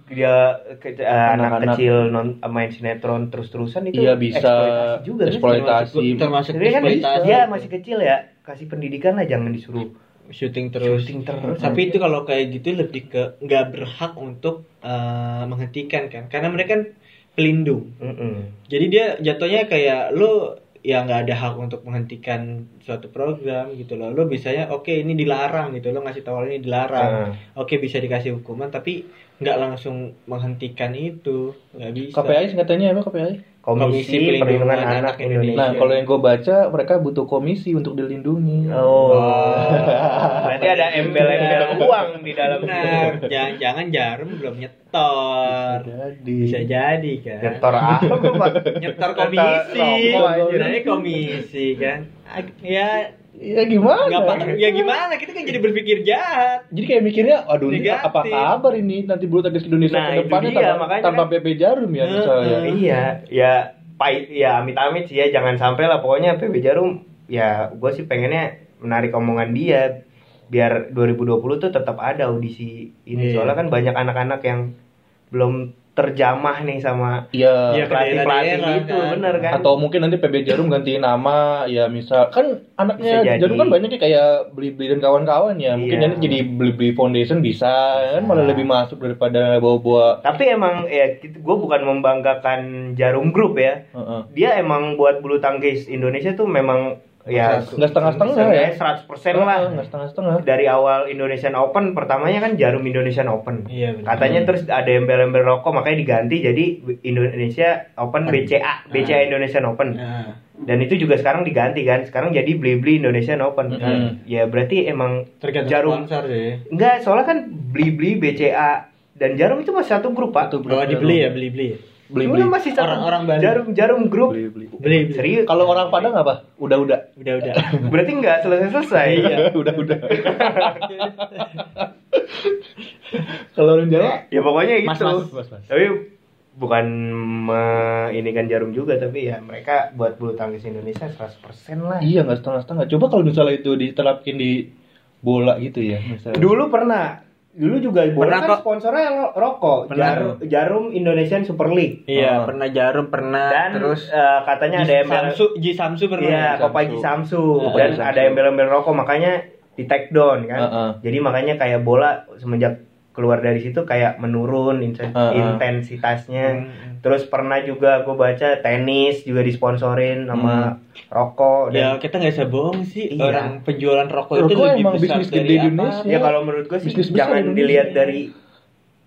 [SPEAKER 3] dia ke- eh, anak,
[SPEAKER 2] Anak-anak.
[SPEAKER 3] kecil non, main sinetron terus-terusan itu
[SPEAKER 2] Iya bisa
[SPEAKER 3] eksploitasi juga kan?
[SPEAKER 2] eksploitasi.
[SPEAKER 1] termasuk
[SPEAKER 3] Sebenarnya kan bisa.
[SPEAKER 1] eksploitasi.
[SPEAKER 3] dia masih kecil ya kasih pendidikan lah jangan disuruh
[SPEAKER 1] syuting terus.
[SPEAKER 3] Syuting terus.
[SPEAKER 1] Tapi itu kalau kayak gitu lebih ke nggak berhak untuk eh, menghentikan kan, karena mereka kan pelindung.
[SPEAKER 3] Mm-mm.
[SPEAKER 1] Jadi dia jatuhnya kayak lo ya nggak ada hak untuk menghentikan suatu program gitu loh. Lo bisanya oke ini dilarang gitu lo ngasih tahu ini dilarang. Oke bisa dikasih hukuman tapi nggak langsung menghentikan itu nggak bisa.
[SPEAKER 2] KPI singkatannya
[SPEAKER 3] Iya,
[SPEAKER 2] apa KPI?
[SPEAKER 3] komisi, perlindungan anak Indonesia
[SPEAKER 2] Nah kalau yang gue baca mereka butuh komisi untuk dilindungi.
[SPEAKER 3] oh
[SPEAKER 1] Wah.
[SPEAKER 3] berarti ada embel-embel uang di dalam
[SPEAKER 1] Benar, kan. jangan-jangan jarum belum nyetor.
[SPEAKER 2] Jadi
[SPEAKER 1] Bisa jadi kan.
[SPEAKER 3] Nyetor apa Pak?
[SPEAKER 1] nyetor Ya, komisi
[SPEAKER 3] Nyetor rokok, anjir.
[SPEAKER 1] sebenarnya komisi kan Ag- ya
[SPEAKER 2] ya gimana?
[SPEAKER 1] nggak apa
[SPEAKER 3] iya.
[SPEAKER 1] ya gimana kita kan jadi berpikir jahat
[SPEAKER 2] Jadi kayak mikirnya, aduh ini
[SPEAKER 1] Negatif.
[SPEAKER 2] apa kabar ini nanti bulu tangkis Indonesia
[SPEAKER 3] Nah,
[SPEAKER 2] ke depannya
[SPEAKER 3] itu dia,
[SPEAKER 2] tanpa,
[SPEAKER 3] makanya
[SPEAKER 2] tanpa
[SPEAKER 3] kan-
[SPEAKER 2] PP jarum ya
[SPEAKER 1] Heeh.
[SPEAKER 2] misalnya.
[SPEAKER 3] iya ya pahit ya amit-amit sih ya jangan sampai lah pokoknya PB Jarum ya gue sih pengennya menarik omongan dia biar 2020 tuh tetap ada audisi ini
[SPEAKER 1] Iya.
[SPEAKER 3] soalnya kan banyak anak-anak yang belum terjamah nih sama
[SPEAKER 1] Iya,
[SPEAKER 2] Iya.
[SPEAKER 1] ke
[SPEAKER 3] pelatih pelatih
[SPEAKER 1] daerah-daerah
[SPEAKER 3] itu
[SPEAKER 1] kan.
[SPEAKER 3] bener kan
[SPEAKER 2] Atau mungkin nanti PB Jarum ganti nama, ya misal kan anaknya
[SPEAKER 3] Bisa jadi.
[SPEAKER 2] Jarum kan banyak ya kayak beli beli dan kawan-kawan ya. Mungkin
[SPEAKER 3] Iya.
[SPEAKER 2] nanti jadi beli beli foundation bisa, kan malah
[SPEAKER 3] Bisa.
[SPEAKER 2] lebih masuk daripada bawa-bawa.
[SPEAKER 3] tapi emang ya gue bukan membanggakan jarum grup ya
[SPEAKER 2] Heeh.
[SPEAKER 3] dia emang buat bulu tangkis Indonesia tuh memang ya
[SPEAKER 2] Nggak setengah-setengah ya.
[SPEAKER 3] seratus persen lah
[SPEAKER 2] Heeh, nggak setengah-setengah.
[SPEAKER 3] dari awal Indonesian Open pertamanya kan jarum Indonesian Open
[SPEAKER 1] Iya, benar.
[SPEAKER 3] katanya terus ada embel-embel rokok makanya diganti jadi Indonesia Open BCA BCA Indonesian Open
[SPEAKER 1] Nah,
[SPEAKER 3] dan itu juga sekarang diganti kan sekarang jadi Blibli Indonesian Open
[SPEAKER 2] Mm-mm.
[SPEAKER 3] ya berarti emang
[SPEAKER 1] tergantung
[SPEAKER 3] Jarum.
[SPEAKER 1] sponsor sih.
[SPEAKER 3] enggak soalnya kan Blibli BCA dan Jarum itu masih satu grup pak
[SPEAKER 2] Satu
[SPEAKER 1] Bawa dibeli ya, beli-beli.
[SPEAKER 2] Beli
[SPEAKER 3] Dulu
[SPEAKER 2] beli.
[SPEAKER 3] masih satu
[SPEAKER 1] Orang-orang Bali.
[SPEAKER 3] Jarum Jarum grup
[SPEAKER 2] Beli beli.
[SPEAKER 1] Beli, beli.
[SPEAKER 3] serius
[SPEAKER 2] Kalau orang Padang apa? Udah-udah.
[SPEAKER 1] Udah-udah.
[SPEAKER 3] berarti enggak selesai selesai
[SPEAKER 2] Iya. Udah-udah. (laughs) Kalau
[SPEAKER 1] Iya.
[SPEAKER 2] orang Jawa
[SPEAKER 3] ya pokoknya gitu
[SPEAKER 2] Mas, mas, mas, mas.
[SPEAKER 3] tapi bukan ini kan jarum juga tapi ya mereka buat bulu tangkis Indonesia 100% lah
[SPEAKER 2] Iya nggak setengah-setengah. Coba kalau misalnya itu diterapkin di bola gitu ya. Misalnya.
[SPEAKER 3] dulu pernah dulu juga
[SPEAKER 1] Pernah
[SPEAKER 3] pernah kan
[SPEAKER 1] kok.
[SPEAKER 3] sponsornya ro- rokok
[SPEAKER 1] Pernah.
[SPEAKER 3] jarum, jarum Indonesian Super
[SPEAKER 1] (laughs)
[SPEAKER 3] League
[SPEAKER 1] Iya,
[SPEAKER 2] Ah.
[SPEAKER 1] pernah jarum, pernah
[SPEAKER 3] dan
[SPEAKER 1] terus
[SPEAKER 3] eh, katanya ada embel
[SPEAKER 1] Samsu, Ji Samsu pernah.
[SPEAKER 3] iya
[SPEAKER 2] Samsu.
[SPEAKER 3] Kopaji Samsu
[SPEAKER 2] Kopaji
[SPEAKER 3] dan
[SPEAKER 2] Samsu.
[SPEAKER 3] ada embel-embel rokok makanya di take down kan
[SPEAKER 2] Heeh.
[SPEAKER 3] jadi makanya kayak bola semenjak keluar dari situ kayak menurun inten-
[SPEAKER 2] Heeh.
[SPEAKER 3] intensitasnya Terus pernah juga gue baca tenis juga disponsorin sama rokok
[SPEAKER 1] Ya
[SPEAKER 3] dan
[SPEAKER 1] kita nggak bisa bohong sih
[SPEAKER 3] Iya.
[SPEAKER 1] orang penjualan rokok, itu
[SPEAKER 2] Rokok
[SPEAKER 1] lebih
[SPEAKER 2] emang
[SPEAKER 1] besar
[SPEAKER 2] bisnis
[SPEAKER 1] dari
[SPEAKER 2] gede di
[SPEAKER 1] apa?
[SPEAKER 2] Indonesia.
[SPEAKER 3] ya kalau menurut gue sih
[SPEAKER 2] Bisnis besar
[SPEAKER 3] jangan
[SPEAKER 2] Indonesia.
[SPEAKER 3] dilihat dari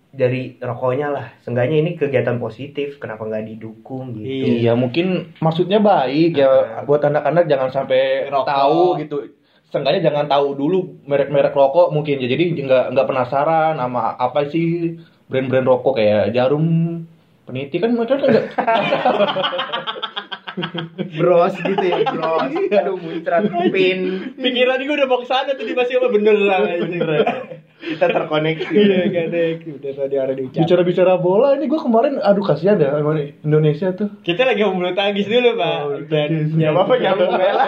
[SPEAKER 3] dari rokoknya lah. Seenggaknya ini kegiatan positif, kenapa nggak didukung gitu.
[SPEAKER 2] Iya mungkin maksudnya baik ya buat anak-anak jangan sampai
[SPEAKER 1] Rokok.
[SPEAKER 2] tahu gitu. Seenggaknya jangan tahu dulu merek-merek rokok mungkin ya. Jadi nggak nggak penasaran sama apa sih brand-brand rokok kayak jarum peniti kan mereka kan nggak
[SPEAKER 3] Bros gitu ya, bros. Aduh muncrat pin.
[SPEAKER 1] Pikiran gue udah mau kesana tadi masih apa
[SPEAKER 2] (laughs)
[SPEAKER 1] beneran
[SPEAKER 3] Kita terkoneksi.
[SPEAKER 1] gak ada udah tadi arah diucap.
[SPEAKER 2] bicara-bicara bola ini gue kemarin aduh kasihan ya emang Indonesia tuh.
[SPEAKER 1] Kita lagi mau bulu tangkis dulu pak.
[SPEAKER 2] Oh, iya.
[SPEAKER 1] Dan
[SPEAKER 3] Gak apa-apa nyambung aja lah.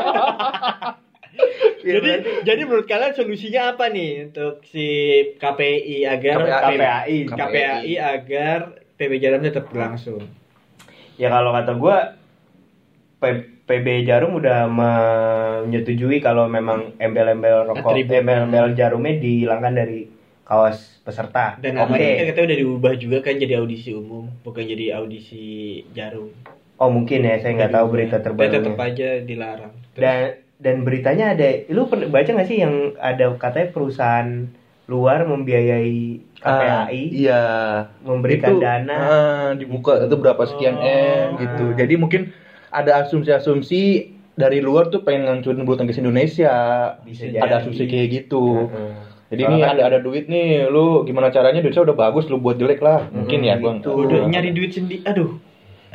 [SPEAKER 1] jadi
[SPEAKER 3] Ya, berarti
[SPEAKER 1] jadi menurut kalian solusinya apa nih untuk si KPI agar
[SPEAKER 2] KPAI.
[SPEAKER 3] KPAI.
[SPEAKER 1] KPAI agar PB Jarum tetap berlangsung.
[SPEAKER 3] Ya kalau kata gue P- PB Jarum udah menyetujui kalau memang embel-embel rokok,
[SPEAKER 1] Atribut.
[SPEAKER 3] embel-embel jarumnya dihilangkan dari kaos peserta.
[SPEAKER 1] Dan
[SPEAKER 3] Oke.
[SPEAKER 1] namanya kan kita udah diubah juga kan jadi audisi umum, bukan jadi audisi jarum.
[SPEAKER 3] Oh mungkin ya, saya nggak tahu berita
[SPEAKER 1] Tapi tetap
[SPEAKER 3] terbarunya.
[SPEAKER 1] aja dilarang. Terus,
[SPEAKER 3] Dan dan beritanya ada, lu pernah baca nggak sih yang ada katanya perusahaan luar membiayai
[SPEAKER 2] Ah,
[SPEAKER 3] KPAI
[SPEAKER 2] iya.
[SPEAKER 3] memberikan
[SPEAKER 2] Itu,
[SPEAKER 3] dana. Ah.
[SPEAKER 2] ah, dibuka itu berapa sekian
[SPEAKER 1] Oh.
[SPEAKER 2] m gitu. Jadi mungkin ada asumsi-asumsi dari luar tuh pengen ngancurin bulu tangkis Indonesia.
[SPEAKER 3] Bisa jadi.
[SPEAKER 2] ada asumsi kayak gitu.
[SPEAKER 3] Heeh.
[SPEAKER 2] Jadi
[SPEAKER 3] Soalnya
[SPEAKER 2] nih
[SPEAKER 3] kan-
[SPEAKER 2] ada ada duit nih, lu gimana caranya duitnya udah bagus lu buat jelek lah. Mungkin
[SPEAKER 3] Hmm,
[SPEAKER 2] ya gua
[SPEAKER 3] gitu.
[SPEAKER 1] udah nyari duit sendiri. Aduh.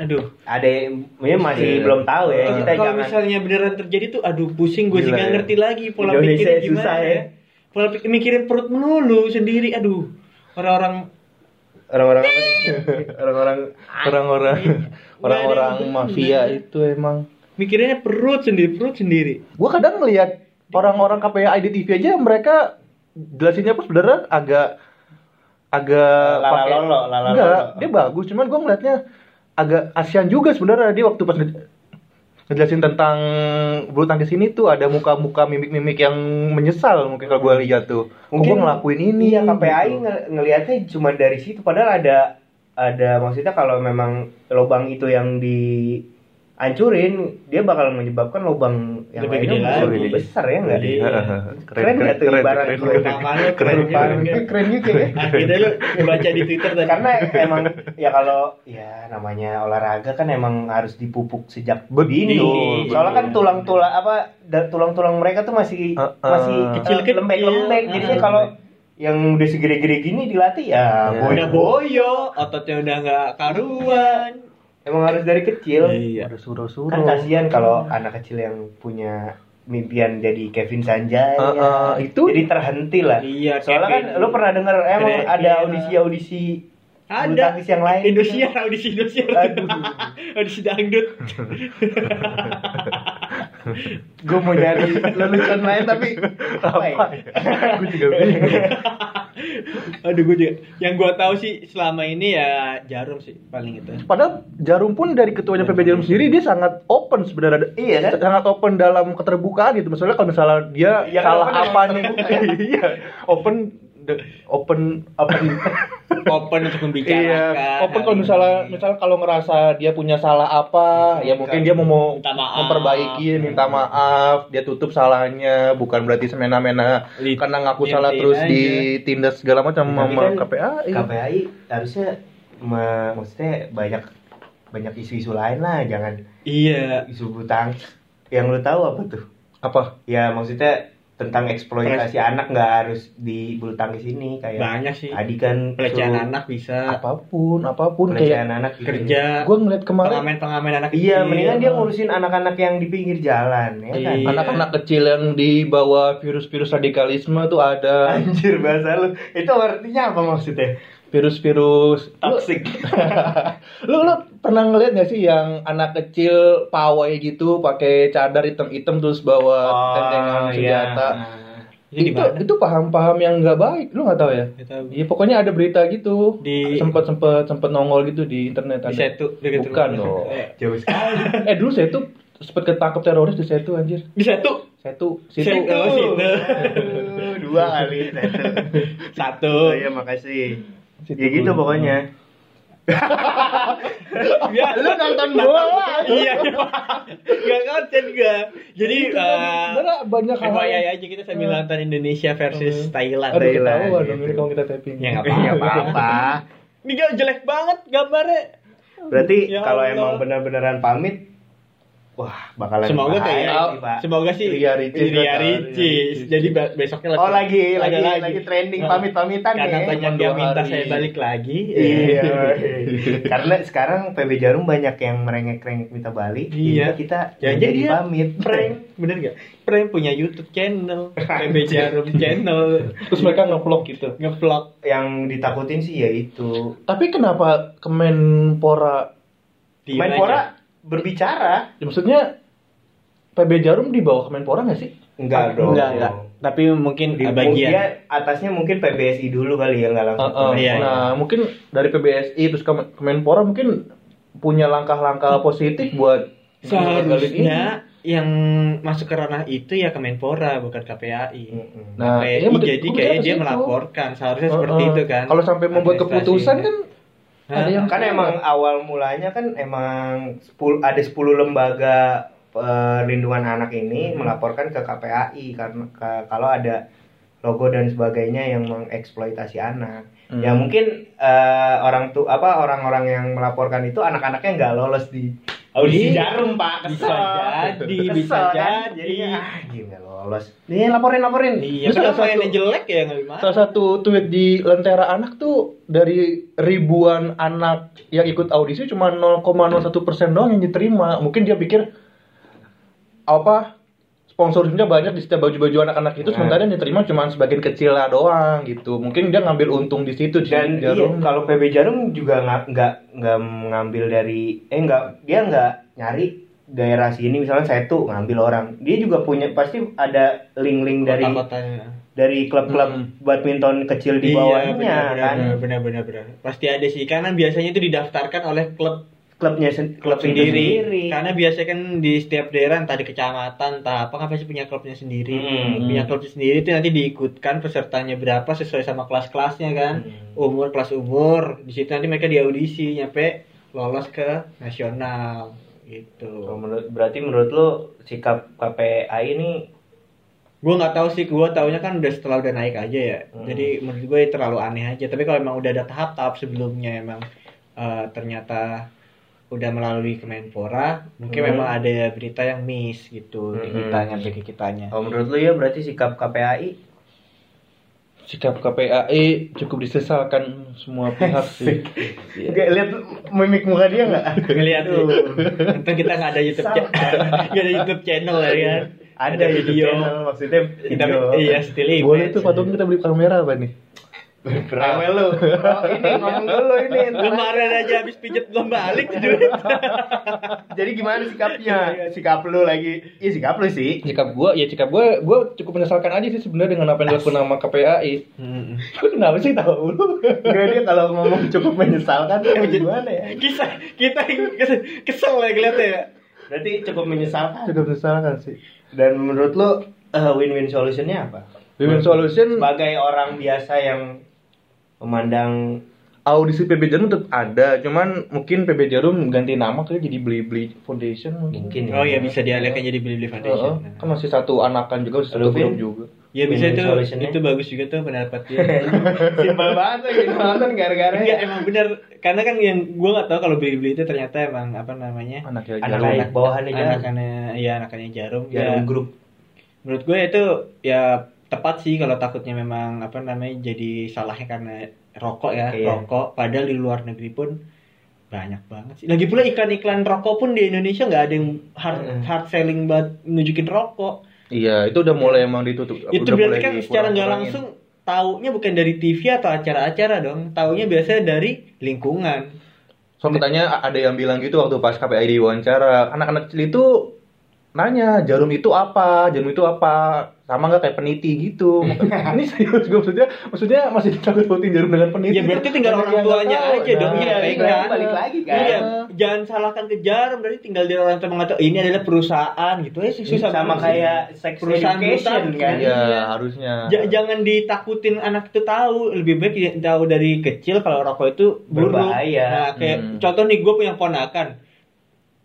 [SPEAKER 1] Aduh.
[SPEAKER 3] Ada yang ini masih
[SPEAKER 2] Iya.
[SPEAKER 3] belum tahu ya,
[SPEAKER 1] Kalau-
[SPEAKER 3] kita
[SPEAKER 1] kalau
[SPEAKER 3] jangan
[SPEAKER 1] misalnya beneran terjadi tuh aduh pusing gue sih
[SPEAKER 3] Gila
[SPEAKER 1] nggak
[SPEAKER 3] ya.
[SPEAKER 1] ngerti lagi pola
[SPEAKER 3] Indonesia
[SPEAKER 1] pikirnya
[SPEAKER 3] susah
[SPEAKER 1] gimana
[SPEAKER 3] ya.
[SPEAKER 1] ya. Pola pikir mikirin perut melulu sendiri. Aduh. Orang-orang
[SPEAKER 3] orang-orang apa nih?
[SPEAKER 2] (laughs)
[SPEAKER 3] orang-orang
[SPEAKER 2] orang-orang
[SPEAKER 1] Nggak
[SPEAKER 2] orang-orang
[SPEAKER 1] ada yang
[SPEAKER 2] mafia
[SPEAKER 1] bener.
[SPEAKER 2] itu emang.
[SPEAKER 1] mikirinnya perut sendiri, perut sendiri.
[SPEAKER 2] (laughs) Gua kadang ngelihat orang-orang KPI di TV aja mereka jelasinnya pun sebenarnya agak agak
[SPEAKER 3] Lala
[SPEAKER 2] pakai-
[SPEAKER 3] lolo, lala
[SPEAKER 2] Enggak,
[SPEAKER 3] lolo.
[SPEAKER 2] dia bagus cuman gua ngelihatnya agak kasihan juga sebenarnya dia waktu pas nge- ngejelasin tentang bulu tangkis ini tuh ada muka-muka mimik-mimik yang menyesal mungkin kalau gua lihat tuh mungkin gua ngelakuin ini
[SPEAKER 3] ya KPAI
[SPEAKER 2] gitu.
[SPEAKER 3] nge- ngelihatnya cuma dari situ padahal ada ada maksudnya kalau memang lubang itu yang dihancurin dia bakal menyebabkan lubang yang
[SPEAKER 1] Lebih
[SPEAKER 3] lainnya
[SPEAKER 1] gede
[SPEAKER 3] besar-
[SPEAKER 1] lagi.
[SPEAKER 3] lebih besar ya enggak
[SPEAKER 1] Iya.
[SPEAKER 3] keren nggak tuh ibarat
[SPEAKER 2] keren,
[SPEAKER 3] lu?
[SPEAKER 2] keren.
[SPEAKER 1] Paman lu
[SPEAKER 2] Keren
[SPEAKER 1] keren
[SPEAKER 2] banget.
[SPEAKER 1] banget.
[SPEAKER 3] keren juga ya
[SPEAKER 1] Akhirnya lu Nah, baca di Twitter tadi.
[SPEAKER 3] Iya,
[SPEAKER 1] (laughs)
[SPEAKER 3] karena emang ya kalau ya namanya olahraga kan emang harus dipupuk sejak
[SPEAKER 2] Betul,
[SPEAKER 3] dini
[SPEAKER 1] betul.
[SPEAKER 3] soalnya kan tulang-tulang apa da- tulang-tulang mereka tuh masih
[SPEAKER 2] Uh, uh.
[SPEAKER 3] masih
[SPEAKER 1] Kecil-kecil.
[SPEAKER 3] lembek-lembek jadinya
[SPEAKER 1] Uh.
[SPEAKER 3] kalau yang udah segede-gede gini dilatih ya
[SPEAKER 2] Ya.
[SPEAKER 3] boy.
[SPEAKER 1] udah boyo, ototnya udah nggak karuan.
[SPEAKER 3] emang harus dari kecil
[SPEAKER 1] Iya.
[SPEAKER 2] ada suruh-suruh
[SPEAKER 3] kan kasihan kalau anak kecil yang punya mimpian jadi Kevin Sanjaya
[SPEAKER 2] Uh, uh, itu-
[SPEAKER 3] jadi terhenti lah
[SPEAKER 1] Iya,
[SPEAKER 3] soalnya
[SPEAKER 1] Kevin.
[SPEAKER 3] kan lu pernah dengar emang
[SPEAKER 1] Keren,
[SPEAKER 3] ada
[SPEAKER 1] iya.
[SPEAKER 3] audisi-audisi bulu
[SPEAKER 1] Ada.
[SPEAKER 3] tangkis yang lain
[SPEAKER 1] Indosiar, (laughs) audisi Indosiar.
[SPEAKER 3] Aduh.
[SPEAKER 1] audisi dangdut.
[SPEAKER 3] gue mau nyari lelucon lain tapi apa ya?
[SPEAKER 2] Gue juga bingung.
[SPEAKER 1] Aduh gue juga. Yang gue tahu sih selama ini ya jarum sih paling itu.
[SPEAKER 2] Padahal Jarum pun dari ketuanya PB Jarum sendiri dia sangat open sebenarnya.
[SPEAKER 3] Iya, kan?
[SPEAKER 2] Sangat open dalam keterbukaan itu. Maksudnya kalau misalnya dia
[SPEAKER 3] Iya, kan,
[SPEAKER 2] salah
[SPEAKER 3] open
[SPEAKER 2] apa nih?
[SPEAKER 3] (laughs)
[SPEAKER 2] Iya, open the- open
[SPEAKER 3] Open.
[SPEAKER 1] Open untuk membicarakan.
[SPEAKER 2] Iya, open kalau
[SPEAKER 1] hari
[SPEAKER 2] misalnya
[SPEAKER 1] ini.
[SPEAKER 2] misalnya kalau ngerasa dia punya salah apa, ya mungkin dia mau mau-
[SPEAKER 1] Minta maaf.
[SPEAKER 2] memperbaiki, minta maaf, dia tutup salahnya, bukan berarti semena-mena
[SPEAKER 1] Di-
[SPEAKER 2] karena ngaku
[SPEAKER 1] diamin
[SPEAKER 2] salah terus
[SPEAKER 1] aja.
[SPEAKER 2] ditindas segala macam
[SPEAKER 3] Tapi
[SPEAKER 2] sama
[SPEAKER 3] kan
[SPEAKER 2] KPAI.
[SPEAKER 3] KPAI harusnya me- maksudnya banyak banyak isu-isu lain lah, jangan
[SPEAKER 1] Iya.
[SPEAKER 3] isu butang. Yang lu tahu apa tuh?
[SPEAKER 2] Apa?
[SPEAKER 3] Ya maksudnya tentang eksploitasi anak nggak harus di bulu tangkis ini kayak
[SPEAKER 1] Banyak sih.
[SPEAKER 3] tadi kan
[SPEAKER 1] Pelecehan
[SPEAKER 3] suruh
[SPEAKER 1] anak bisa.
[SPEAKER 2] Apapun, apapun
[SPEAKER 3] pelecehan
[SPEAKER 2] kayak
[SPEAKER 3] anak gitu.
[SPEAKER 1] Kerja.
[SPEAKER 2] gue ngeliat kemarin
[SPEAKER 1] Pengamen-pengamen anak kecil.
[SPEAKER 3] Iya, mendingan dia ngurusin anak-anak yang di pinggir jalan ya kan.
[SPEAKER 1] Iya.
[SPEAKER 2] anak-anak kecil yang dibawa virus-virus radikalisme tuh ada
[SPEAKER 3] Anjir bahasa lu. Itu artinya apa maksudnya?
[SPEAKER 2] virus-virus lu,
[SPEAKER 3] Toxic.
[SPEAKER 2] (laughs) lu lu pernah ngeliat gak sih yang anak kecil pawai gitu pakai cadar hitam-hitam terus
[SPEAKER 1] Ah,
[SPEAKER 2] bawa
[SPEAKER 3] Oh,
[SPEAKER 2] tentengan
[SPEAKER 1] iya.
[SPEAKER 3] iya.
[SPEAKER 2] senjata
[SPEAKER 1] Itu di
[SPEAKER 2] itu
[SPEAKER 1] mana?
[SPEAKER 2] itu paham-paham yang nggak baik lu nggak tahu ya
[SPEAKER 1] Nggak tahu.
[SPEAKER 2] Iya pokoknya ada berita gitu
[SPEAKER 1] Di-
[SPEAKER 2] sempet sempet sempet nongol gitu di internet
[SPEAKER 1] Di
[SPEAKER 2] ada.
[SPEAKER 1] setu. dekat
[SPEAKER 2] bukan
[SPEAKER 1] rumah. (laughs)
[SPEAKER 2] dong
[SPEAKER 1] Eh,
[SPEAKER 3] Jauh sekali.
[SPEAKER 2] eh dulu saya tuh sempet ketangkep teroris di setu anjir
[SPEAKER 1] Di setu.
[SPEAKER 2] setu
[SPEAKER 1] Setu.
[SPEAKER 2] situ
[SPEAKER 1] Oh, situ.
[SPEAKER 3] Aduh, dua kali satu.
[SPEAKER 1] Satu.
[SPEAKER 3] Oh, iya, makasih. Ya gitu pokoknya.
[SPEAKER 1] Ya, lu nonton bola. Iya. Gak konsen gua. Jadi eh,
[SPEAKER 2] Sebenarnya kan banyak hal
[SPEAKER 1] FYI aja kita sambil nonton Indonesia versus
[SPEAKER 2] Hmm.
[SPEAKER 1] Thailand.
[SPEAKER 2] Aduh
[SPEAKER 3] Thailand,
[SPEAKER 2] ketahuan dong
[SPEAKER 3] gitu.
[SPEAKER 2] ini kalau kita tapping.
[SPEAKER 1] Ya nggak
[SPEAKER 3] Ya
[SPEAKER 1] apa-apa.
[SPEAKER 3] apa-apa.
[SPEAKER 1] Ini gak jelek banget gambarnya.
[SPEAKER 3] Berarti
[SPEAKER 1] Ya
[SPEAKER 3] kalau
[SPEAKER 1] Allah.
[SPEAKER 3] emang benar-beneran pamit, wah bakalan
[SPEAKER 1] Semoga
[SPEAKER 3] bahaya
[SPEAKER 1] kayak
[SPEAKER 3] sih, Pak.
[SPEAKER 1] semoga sih
[SPEAKER 2] Ria Ricis.
[SPEAKER 1] Ria
[SPEAKER 2] Ria
[SPEAKER 1] Ricis.
[SPEAKER 2] Ricis.
[SPEAKER 1] Jadi ba- besoknya
[SPEAKER 3] Oh lagi
[SPEAKER 1] ada
[SPEAKER 3] lagi lagi, trending
[SPEAKER 1] Nah,
[SPEAKER 3] pamit-pamitan
[SPEAKER 1] Karena banyak
[SPEAKER 3] ya.
[SPEAKER 2] Cuma
[SPEAKER 1] yang
[SPEAKER 2] dua
[SPEAKER 1] minta
[SPEAKER 2] hari.
[SPEAKER 1] saya balik lagi. (laughs)
[SPEAKER 3] Iya. Karena sekarang PB Jarum banyak yang merengek-rengek minta balik.
[SPEAKER 1] Iya.
[SPEAKER 3] Iya. Kita
[SPEAKER 1] Ya,
[SPEAKER 3] yang
[SPEAKER 1] jadi
[SPEAKER 3] jadi
[SPEAKER 1] dia
[SPEAKER 3] pamit.
[SPEAKER 1] Prank, bener gak? Prank punya YouTube channel, PB Jarum channel,
[SPEAKER 2] Terus mereka ngeblok gitu.
[SPEAKER 1] ngevlog.
[SPEAKER 3] Yang ditakutin sih ya itu.
[SPEAKER 2] Tapi kenapa Kemenpora?
[SPEAKER 3] Iya,
[SPEAKER 1] Diem aja.
[SPEAKER 3] Menpora berbicara.
[SPEAKER 2] Ya, maksudnya PB Jarum di bawah Kemenpora nggak sih?
[SPEAKER 3] Enggak dong.
[SPEAKER 1] Enggak, enggak. Tapi mungkin di
[SPEAKER 3] Di
[SPEAKER 1] bagian.
[SPEAKER 3] Dia atasnya mungkin PBSI dulu kali ya nggak langsung.
[SPEAKER 2] Heeh.
[SPEAKER 1] iya, iya.
[SPEAKER 2] Nah mungkin dari PBSI terus Kemen- Kemenpora mungkin punya langkah-langkah positif buat menggagalin ini.
[SPEAKER 1] Seharusnya yang masuk ke ranah itu ya Kemenpora bukan KPAI.
[SPEAKER 3] Mm-mm.
[SPEAKER 2] Nah,
[SPEAKER 1] KPAI
[SPEAKER 2] iya, maksud-
[SPEAKER 1] jadi
[SPEAKER 2] gua
[SPEAKER 1] kayak
[SPEAKER 2] mikirnya
[SPEAKER 1] dia
[SPEAKER 2] ke situ.
[SPEAKER 1] melaporkan, seharusnya seperti
[SPEAKER 2] Heeh.
[SPEAKER 1] itu kan.
[SPEAKER 2] Kalau sampai membuat keputusan kan
[SPEAKER 1] Hah?
[SPEAKER 2] ada yang
[SPEAKER 3] kan emang awal mulanya kan emang 10 ada 10 lembaga perlindungan anak ini melaporkan ke KPAI karena ke- kalau ada logo dan sebagainya yang mengeksploitasi anak.
[SPEAKER 1] Mm.
[SPEAKER 2] Hmm.
[SPEAKER 3] Ya mungkin eh, orang tuh apa orang-orang yang melaporkan itu anak-anaknya nggak lolos di audisi
[SPEAKER 1] Iya.
[SPEAKER 3] jarum pak
[SPEAKER 1] Bisa
[SPEAKER 3] kesel
[SPEAKER 1] jadi, bisa jadi.
[SPEAKER 3] jadinya ah gila nggak lolos nih laporin laporin
[SPEAKER 1] Iya,
[SPEAKER 2] Terus
[SPEAKER 1] kalau
[SPEAKER 2] salah
[SPEAKER 1] mainnya
[SPEAKER 2] satu-
[SPEAKER 1] jelek ya nggak gimana.
[SPEAKER 2] Salah satu tweet di Lentera Anak tuh dari ribuan anak yang ikut audisi cuma 0,01 persen doang yang diterima. Mungkin dia pikir apa sponsornya banyak di setiap baju-baju anak-anak itu sementara yang diterima cuma sebagian kecil lah doang gitu. Mungkin dia ngambil untung di situ di
[SPEAKER 3] dan
[SPEAKER 2] jarum.
[SPEAKER 3] iya, kalau PB Jarum juga nggak nggak nggak ngambil dari eh nggak dia nggak nyari daerah sini misalnya satu ngambil orang dia juga punya pasti ada link-link dari
[SPEAKER 1] Kota-kotanya.
[SPEAKER 3] dari klub-klub
[SPEAKER 2] Hmm.
[SPEAKER 3] badminton kecil di bawahnya kan
[SPEAKER 1] Iya, benar benar benar. Pasti ada sih karena biasanya itu didaftarkan oleh klub
[SPEAKER 3] klubnya sen-
[SPEAKER 1] klub
[SPEAKER 3] klub
[SPEAKER 1] sendiri.
[SPEAKER 3] sendiri
[SPEAKER 1] Karena biasanya kan di setiap daerah entah di kecamatan entah apa kan pasti punya klubnya sendiri.
[SPEAKER 3] Hmm.
[SPEAKER 1] Punya klub sendiri itu nanti diikutkan pesertanya berapa sesuai sama kelas-kelasnya kan.
[SPEAKER 3] Hmm.
[SPEAKER 1] Umur kelas umur di situ nanti mereka diaudisi nyampe lolos ke nasional
[SPEAKER 3] Tuh,
[SPEAKER 1] gitu.
[SPEAKER 3] menurut- berarti menurut lo sikap KPI ini
[SPEAKER 1] Gue nggak tahu sih, gue taunya kan udah setelah udah naik aja ya.
[SPEAKER 3] Hmm.
[SPEAKER 1] Jadi menurut gue terlalu aneh aja. Tapi kalau emang udah ada tahap-tahap sebelumnya emang eh, ternyata udah melalui Kemenpora, mungkin
[SPEAKER 3] Hmm.
[SPEAKER 1] memang ada berita yang miss gitu di
[SPEAKER 3] Hmm.
[SPEAKER 1] kitanya, di kitanya.
[SPEAKER 3] kalau menurut lo ya berarti sikap KPI
[SPEAKER 2] Sikap KPAI cukup disesalkan semua pihak (laughs) sih. Iya.
[SPEAKER 3] Nggak, lihat mimik muka dia nggak
[SPEAKER 1] Ngeliat tuh.
[SPEAKER 3] (laughs) Tuh.
[SPEAKER 1] Ntar kita nggak ada YouTube channel, (laughs) nggak ada YouTube channel ya kan.
[SPEAKER 3] ada YouTube channel maksudnya
[SPEAKER 1] Kita
[SPEAKER 3] video.
[SPEAKER 1] iya still image.
[SPEAKER 2] Boleh tuh patung kita beli kamera apa nih?
[SPEAKER 3] Rewel lu. Oh, ini ngomong dulu ini.
[SPEAKER 1] (laughs) Kemarin aja habis pijet belum
[SPEAKER 3] (laughs)
[SPEAKER 1] balik tuh duit.
[SPEAKER 3] Jadi gimana sikapnya? Iya, Sikap lu lagi. Iya sikap lu sih.
[SPEAKER 2] Sikap gue, ya sikap gue, gue cukup menyesalkan aja sih sebenarnya dengan apa yang dilakukan sama KPAI. Gue (laughs) kenapa sih tahu lu?
[SPEAKER 3] Enggak dia kalau ngomong cukup (laughs) menyesalkan tuh gimana ya?
[SPEAKER 1] Kisah kita yang kesel- kesel ya kelihatnya ya.
[SPEAKER 3] Berarti cukup menyesalkan.
[SPEAKER 2] Cukup menyesalkan sih.
[SPEAKER 3] Dan menurut lu eh, win-win solutionnya apa?
[SPEAKER 2] Women Solution
[SPEAKER 3] Sebagai orang biasa yang memandang
[SPEAKER 2] audisi PB Jarum tetap ada, cuman mungkin PB Jarum ganti nama tuh jadi beli beli foundation mungkin.
[SPEAKER 3] mungkin
[SPEAKER 1] Oh ya bisa dialihkan jadi beli beli
[SPEAKER 2] Heeh.
[SPEAKER 1] foundation.
[SPEAKER 3] Oh,
[SPEAKER 2] kan masih satu anakan juga masih
[SPEAKER 3] Lu,
[SPEAKER 2] satu
[SPEAKER 3] Vin?
[SPEAKER 2] grup juga.
[SPEAKER 3] Iya,
[SPEAKER 1] Ya bisa itu
[SPEAKER 3] Solutionnya.
[SPEAKER 1] itu bagus juga tuh pendapat
[SPEAKER 3] (laughs)
[SPEAKER 1] dia.
[SPEAKER 3] simpel banget tuh gitu nonton gara-gara
[SPEAKER 1] Enggak emang benar karena kan yang gue nggak tahu kalau beli beli itu ternyata emang apa namanya
[SPEAKER 2] Anak ya
[SPEAKER 3] Anak-anak
[SPEAKER 2] Jarum.
[SPEAKER 3] Anak bawahannya Jarum. Iya,
[SPEAKER 1] Anak-anaknya ya anak-anaknya jarum. Ya,
[SPEAKER 3] dalam grup
[SPEAKER 1] menurut gue itu ya tepat sih kalau takutnya memang apa namanya jadi salahnya karena rokok ya
[SPEAKER 3] Iya.
[SPEAKER 1] rokok padahal di luar negeri pun banyak banget sih lagi pula iklan-iklan rokok pun di Indonesia nggak ada yang hard,
[SPEAKER 3] Mm-mm.
[SPEAKER 1] hard selling buat nunjukin rokok
[SPEAKER 2] Iya, itu udah mulai emang ditutup.
[SPEAKER 1] itu
[SPEAKER 2] udah
[SPEAKER 1] berarti
[SPEAKER 2] mulai
[SPEAKER 1] kan secara nggak
[SPEAKER 2] dikurang-kurangin.
[SPEAKER 1] langsung taunya bukan dari TV atau acara-acara dong taunya biasanya dari lingkungan
[SPEAKER 2] Soal katanya a- ada yang bilang gitu waktu pas KPI diwawancara, anak-anak kecil itu nanya jarum itu apa, jarum itu apa, sama nggak kayak peniti gitu. Ini serius gue maksudnya, maksudnya masih ditakutin jarum dengan peniti.
[SPEAKER 1] Ya berarti tinggal
[SPEAKER 2] Banyak
[SPEAKER 1] orang
[SPEAKER 2] yang nggak
[SPEAKER 1] tuanya
[SPEAKER 2] tahu. Nah,
[SPEAKER 1] aja dong yang
[SPEAKER 3] balik
[SPEAKER 1] pegang.
[SPEAKER 3] lagi- balik lagi kan
[SPEAKER 1] Iya, jangan salahkan ke jarum berarti tinggal dari orang tua mengatakan ini adalah perusahaan gitu ya susah
[SPEAKER 3] sama
[SPEAKER 1] banget sih.
[SPEAKER 3] kayak sex
[SPEAKER 1] Perusahaan
[SPEAKER 3] education
[SPEAKER 1] hutan.
[SPEAKER 3] kan
[SPEAKER 2] Iya harusnya.
[SPEAKER 1] Ja- jangan ditakutin anak itu tahu lebih baik dia tahu dari kecil kalau rokok itu buruk.
[SPEAKER 3] Berbahaya.
[SPEAKER 1] Nah, kayak
[SPEAKER 2] Hmm.
[SPEAKER 1] contoh nih gue punya ponakan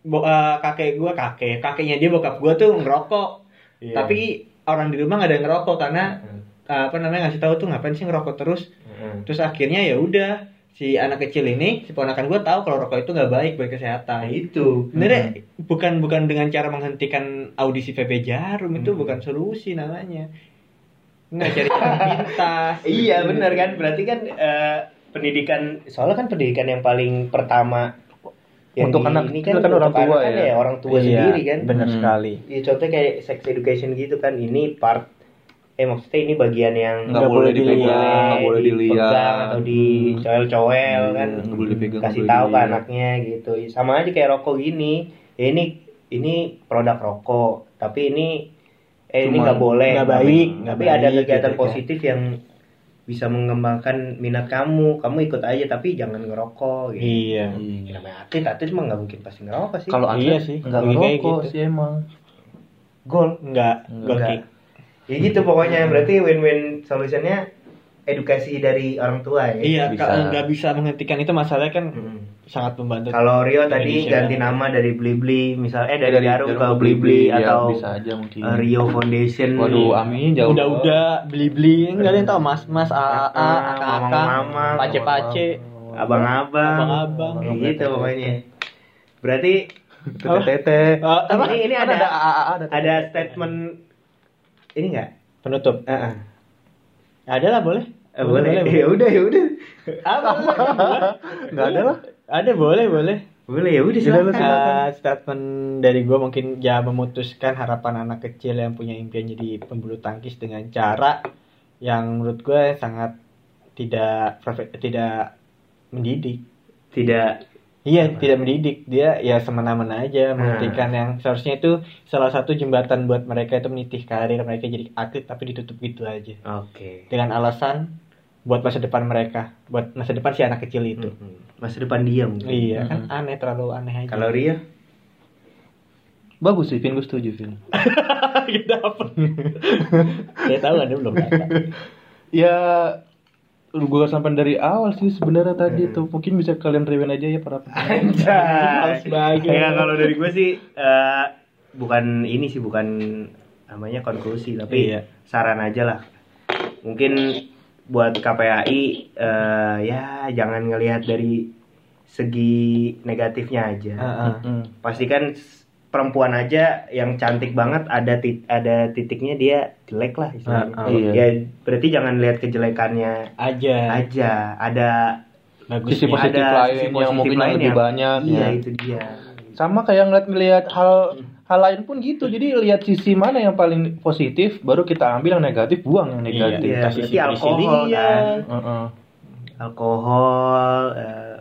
[SPEAKER 1] Bo- eh, kakek gue kakek kakeknya dia bokap gue tuh ngerokok
[SPEAKER 3] Iya.
[SPEAKER 1] tapi orang di rumah nggak ada yang ngerokok karena
[SPEAKER 3] Heeh.
[SPEAKER 1] eh, apa namanya ngasih tahu tuh ngapain sih ngerokok terus
[SPEAKER 3] Heeh.
[SPEAKER 1] terus akhirnya ya udah si anak kecil ini si ponakan gue tahu kalau rokok itu nggak baik buat
[SPEAKER 3] Nah,
[SPEAKER 1] kesehatan
[SPEAKER 3] itu
[SPEAKER 1] sebenarnya bukan bukan dengan cara menghentikan audisi PP Jarum itu
[SPEAKER 3] Hmm.
[SPEAKER 1] bukan solusi namanya nggak cari
[SPEAKER 3] (laughs)
[SPEAKER 1] jalan pintas
[SPEAKER 3] iya benar kan berarti kan eh, pendidikan soalnya kan pendidikan yang paling pertama di-
[SPEAKER 2] Untuk anak kecil kan
[SPEAKER 3] untuk
[SPEAKER 2] orang tua
[SPEAKER 3] anak kan
[SPEAKER 2] ya.
[SPEAKER 3] orang
[SPEAKER 1] Iya,
[SPEAKER 3] tua sendiri kan
[SPEAKER 4] Benar
[SPEAKER 2] Hmm.
[SPEAKER 4] sekali.
[SPEAKER 3] ya contohnya kayak sex education gitu kan ini part eh maksudnya ini bagian yang
[SPEAKER 2] Nggak boleh dipegang, nggak boleh dilihat. Hmm.
[SPEAKER 3] dipegang atau dicoel-coel
[SPEAKER 2] Iya,
[SPEAKER 3] kan
[SPEAKER 2] nggak boleh dipegang,
[SPEAKER 3] kasih
[SPEAKER 2] nggak boleh
[SPEAKER 3] tahu ke
[SPEAKER 2] dilihat.
[SPEAKER 3] anaknya gitu sama aja kayak rokok gini ya ini ini produk rokok tapi ini eh ini
[SPEAKER 2] Cuman
[SPEAKER 3] nggak boleh
[SPEAKER 4] nggak baik, nggak
[SPEAKER 3] tapi ada
[SPEAKER 4] baik,
[SPEAKER 3] kegiatan
[SPEAKER 4] gitu kan.
[SPEAKER 3] positif yang bisa mengembangkan minat kamu kamu ikut aja tapi jangan ngerokok gitu.
[SPEAKER 4] Iya.
[SPEAKER 3] Ya, namanya atlet atlet emang nggak mungkin pasti ngerokok sih
[SPEAKER 2] Kalau
[SPEAKER 4] Iya
[SPEAKER 2] atlet
[SPEAKER 4] sih,
[SPEAKER 2] nggak
[SPEAKER 4] lebih kayak
[SPEAKER 2] ngerokok
[SPEAKER 4] gitu.
[SPEAKER 2] sih emang.
[SPEAKER 3] gol
[SPEAKER 1] nggak
[SPEAKER 3] Enggak.
[SPEAKER 1] gol kick
[SPEAKER 3] Ya gitu pokoknya berarti win-win solutionnya edukasi dari orang tua ya.
[SPEAKER 1] iya
[SPEAKER 2] Bisa.
[SPEAKER 1] kalau nggak bisa menghentikan itu masalahnya kan
[SPEAKER 3] Mm.
[SPEAKER 1] sangat membantu
[SPEAKER 3] Kalau Rio tadi
[SPEAKER 1] Indonesia.
[SPEAKER 3] ganti nama dari Blibli misal eh dari, Jarum ke
[SPEAKER 2] Blibli,
[SPEAKER 3] Blibli
[SPEAKER 2] ya,
[SPEAKER 3] atau
[SPEAKER 2] bisa aja mungkin.
[SPEAKER 3] eh, Rio Foundation.
[SPEAKER 2] Waduh, amin jauh.
[SPEAKER 1] udah-udah beli-beli nggak ada yang tahu mas-mas aa kakak
[SPEAKER 3] Mama-mama,
[SPEAKER 1] pace-pace
[SPEAKER 3] abang-abang.
[SPEAKER 1] Abang-abang.
[SPEAKER 3] Ya gitu
[SPEAKER 2] Iya.
[SPEAKER 3] pokoknya. Berarti
[SPEAKER 2] Tete.
[SPEAKER 1] Eh, apa?
[SPEAKER 3] ini ini
[SPEAKER 2] Kan
[SPEAKER 3] ada
[SPEAKER 2] ada
[SPEAKER 3] ada,
[SPEAKER 2] AAA ada.
[SPEAKER 3] statement ini enggak?
[SPEAKER 1] penutup
[SPEAKER 3] Heeh.
[SPEAKER 1] ada lah Oh, boleh
[SPEAKER 3] Eh, boleh. (laughs)
[SPEAKER 1] (laughs)
[SPEAKER 3] Ya udah ya udah.
[SPEAKER 1] apa
[SPEAKER 2] Enggak ada lah.
[SPEAKER 1] ada boleh boleh
[SPEAKER 3] Boleh ya udah
[SPEAKER 1] Silakan.
[SPEAKER 3] silakan.
[SPEAKER 1] Eh, statement dari gue mungkin ya memutuskan harapan anak kecil yang punya impian jadi pembulu tangkis dengan cara yang menurut gue sangat tidak profe- tidak mendidik.
[SPEAKER 3] Tidak
[SPEAKER 1] Iya, tidak mendidik. Dia ya semena-mena aja menghentikan yang seharusnya itu salah satu jembatan buat mereka itu menitih karir mereka jadi atlet tapi ditutup gitu aja.
[SPEAKER 3] Oke.
[SPEAKER 1] Dengan alasan buat masa depan mereka, buat masa depan si anak kecil itu.
[SPEAKER 3] Mm-mm. Gitu. Masa depan dia mungkin.
[SPEAKER 1] Iya, kan aneh terlalu aneh aja.
[SPEAKER 3] Hmm. Kalau Rio
[SPEAKER 2] Bagus sih, Vin, gue setuju, Vin.
[SPEAKER 1] Kita apa? Dia tahu kan dia
[SPEAKER 3] (laughs)
[SPEAKER 1] belum datang.
[SPEAKER 2] Ya gue sampai dari awal sih sebenarnya tadi tuh mungkin bisa kalian rewind aja ya para
[SPEAKER 3] Anjay.
[SPEAKER 1] Males banget.
[SPEAKER 3] Ya kalau dari gue sih eh, bukan ini sih bukan namanya konklusi tapi
[SPEAKER 1] Iya.
[SPEAKER 3] saran aja lah. Mungkin buat KPAI eh, ya jangan ngelihat dari segi negatifnya aja.
[SPEAKER 1] Heeh.
[SPEAKER 2] Hmm.
[SPEAKER 3] Pastikan s- perempuan aja yang cantik banget ada tit- ada titiknya dia jelek lah istilahnya.
[SPEAKER 1] Ah, Iya. ah.
[SPEAKER 2] Iya.
[SPEAKER 3] Ya berarti jangan lihat kejelekannya
[SPEAKER 1] Aja.
[SPEAKER 3] aja. Ada
[SPEAKER 1] Bagus.
[SPEAKER 2] Sisi
[SPEAKER 1] ya.
[SPEAKER 2] positif
[SPEAKER 3] Iya, ada
[SPEAKER 2] lain
[SPEAKER 3] sisi
[SPEAKER 2] yang
[SPEAKER 3] positif
[SPEAKER 2] mungkin
[SPEAKER 3] lain
[SPEAKER 2] lebih
[SPEAKER 3] yang-
[SPEAKER 2] banyak
[SPEAKER 3] Iya
[SPEAKER 2] ya.
[SPEAKER 3] itu dia.
[SPEAKER 2] sama kayak ngeliat-ngeliat hal hal lain pun gitu jadi lihat sisi mana yang paling positif baru kita ambil yang negatif buang yang negatif
[SPEAKER 3] Iya,
[SPEAKER 2] Kasih-
[SPEAKER 3] berarti alkohol
[SPEAKER 1] iya.
[SPEAKER 3] kan.
[SPEAKER 2] Heeh.
[SPEAKER 3] Alkohol, eh,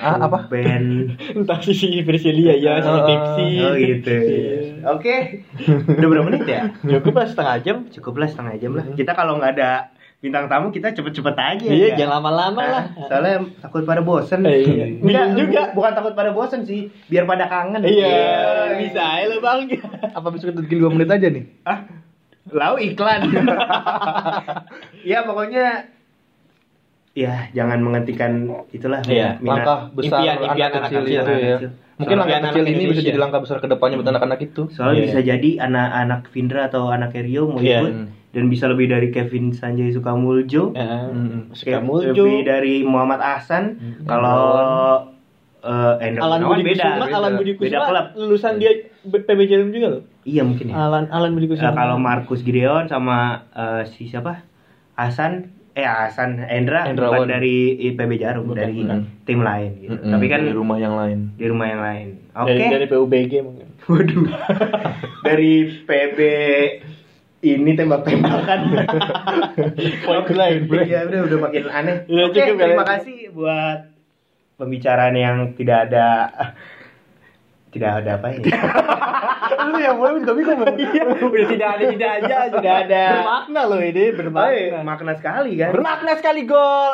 [SPEAKER 2] Ah, apa?
[SPEAKER 1] (laughs)
[SPEAKER 3] band.
[SPEAKER 1] entah sisi Brasilia ya sisi
[SPEAKER 2] Oh,
[SPEAKER 1] Pepsi
[SPEAKER 3] Oh gitu.
[SPEAKER 1] Iya.
[SPEAKER 3] Oke. Udah berapa menit ya?
[SPEAKER 1] cukup lah setengah jam
[SPEAKER 3] Cukuplah setengah jam lah. Kita kalau nggak ada bintang tamu kita cepet-cepet aja.
[SPEAKER 1] iya
[SPEAKER 3] ya.
[SPEAKER 1] jangan lama-lama
[SPEAKER 3] Ah,
[SPEAKER 1] lah
[SPEAKER 3] Soalnya takut pada bosen.
[SPEAKER 1] Eh, iya.
[SPEAKER 3] Enggak,
[SPEAKER 1] Bingung juga.
[SPEAKER 3] bu- bukan takut pada bosen sih, biar pada kangen.
[SPEAKER 1] iya bisa ya lo bang
[SPEAKER 2] apa bisa kita bikin dua menit aja nih
[SPEAKER 3] Ah, lalu iklan. (laughs) ya pokoknya ya jangan menghentikan itulah
[SPEAKER 1] Iya,
[SPEAKER 3] minat.
[SPEAKER 2] langkah besar
[SPEAKER 1] impian-
[SPEAKER 2] anak
[SPEAKER 1] impian anak
[SPEAKER 2] kecil
[SPEAKER 1] kecil,
[SPEAKER 2] itu
[SPEAKER 3] anak
[SPEAKER 2] ya
[SPEAKER 3] kecil.
[SPEAKER 2] mungkin
[SPEAKER 1] Soalnya
[SPEAKER 2] langkah
[SPEAKER 1] anak
[SPEAKER 2] kecil ini bisa
[SPEAKER 1] Indonesia.
[SPEAKER 2] jadi langkah besar kedepannya buat anak-anak itu
[SPEAKER 3] Soalnya
[SPEAKER 1] Iya.
[SPEAKER 3] bisa jadi anak-anak Vindra atau anak Rio mau
[SPEAKER 1] Iya.
[SPEAKER 3] ikut dan bisa lebih dari Kevin Sanjay Sukamuljo.
[SPEAKER 1] Eh, suka
[SPEAKER 3] Kayak
[SPEAKER 1] muncul
[SPEAKER 3] lebih dari Muhammad Ahsan kalau eh Endra
[SPEAKER 1] Alan
[SPEAKER 3] Gunawan
[SPEAKER 1] Budi
[SPEAKER 3] beda,
[SPEAKER 1] Kusuma,
[SPEAKER 3] beda.
[SPEAKER 1] Alan Budi
[SPEAKER 3] Beda
[SPEAKER 1] Kusuma
[SPEAKER 3] klub.
[SPEAKER 1] lulusan dia PB Jarum juga loh.
[SPEAKER 3] Iya mungkin ya.
[SPEAKER 1] Alan Alan Budi
[SPEAKER 3] Eh,
[SPEAKER 1] Kusuma.
[SPEAKER 3] kalau Markus Gideon sama eh, si siapa? Hasan eh Hasan Endra
[SPEAKER 2] Endrawan.
[SPEAKER 3] bukan dari IPB Jarum
[SPEAKER 1] Bukan,
[SPEAKER 3] dari
[SPEAKER 1] bukan.
[SPEAKER 3] tim lain gitu.
[SPEAKER 2] Mm-mm,
[SPEAKER 3] Tapi kan
[SPEAKER 2] di rumah yang lain
[SPEAKER 3] di rumah yang lain. Oke.
[SPEAKER 1] dari, dari PUBG mungkin.
[SPEAKER 3] (laughs) Waduh. dari PB ini
[SPEAKER 1] (laughs)
[SPEAKER 3] tembak-tembakan.
[SPEAKER 1] (laughs) Point blank.
[SPEAKER 3] Iya, udah udah makin aneh.
[SPEAKER 1] Ya,
[SPEAKER 3] Oke,
[SPEAKER 1] cukup ya,
[SPEAKER 3] terima
[SPEAKER 1] cukup.
[SPEAKER 3] kasih buat pembicaraan yang tidak ada (laughs) tidak ada apa
[SPEAKER 1] (laughs)
[SPEAKER 3] ya?
[SPEAKER 1] Lu yang mulai ya, tapi (laughs) kok udah tidak ada tidak aja sudah ada. Bermakna loh ini
[SPEAKER 3] Baik,
[SPEAKER 1] bermakna.
[SPEAKER 3] makna sekali kan.
[SPEAKER 1] Bermakna sekali gol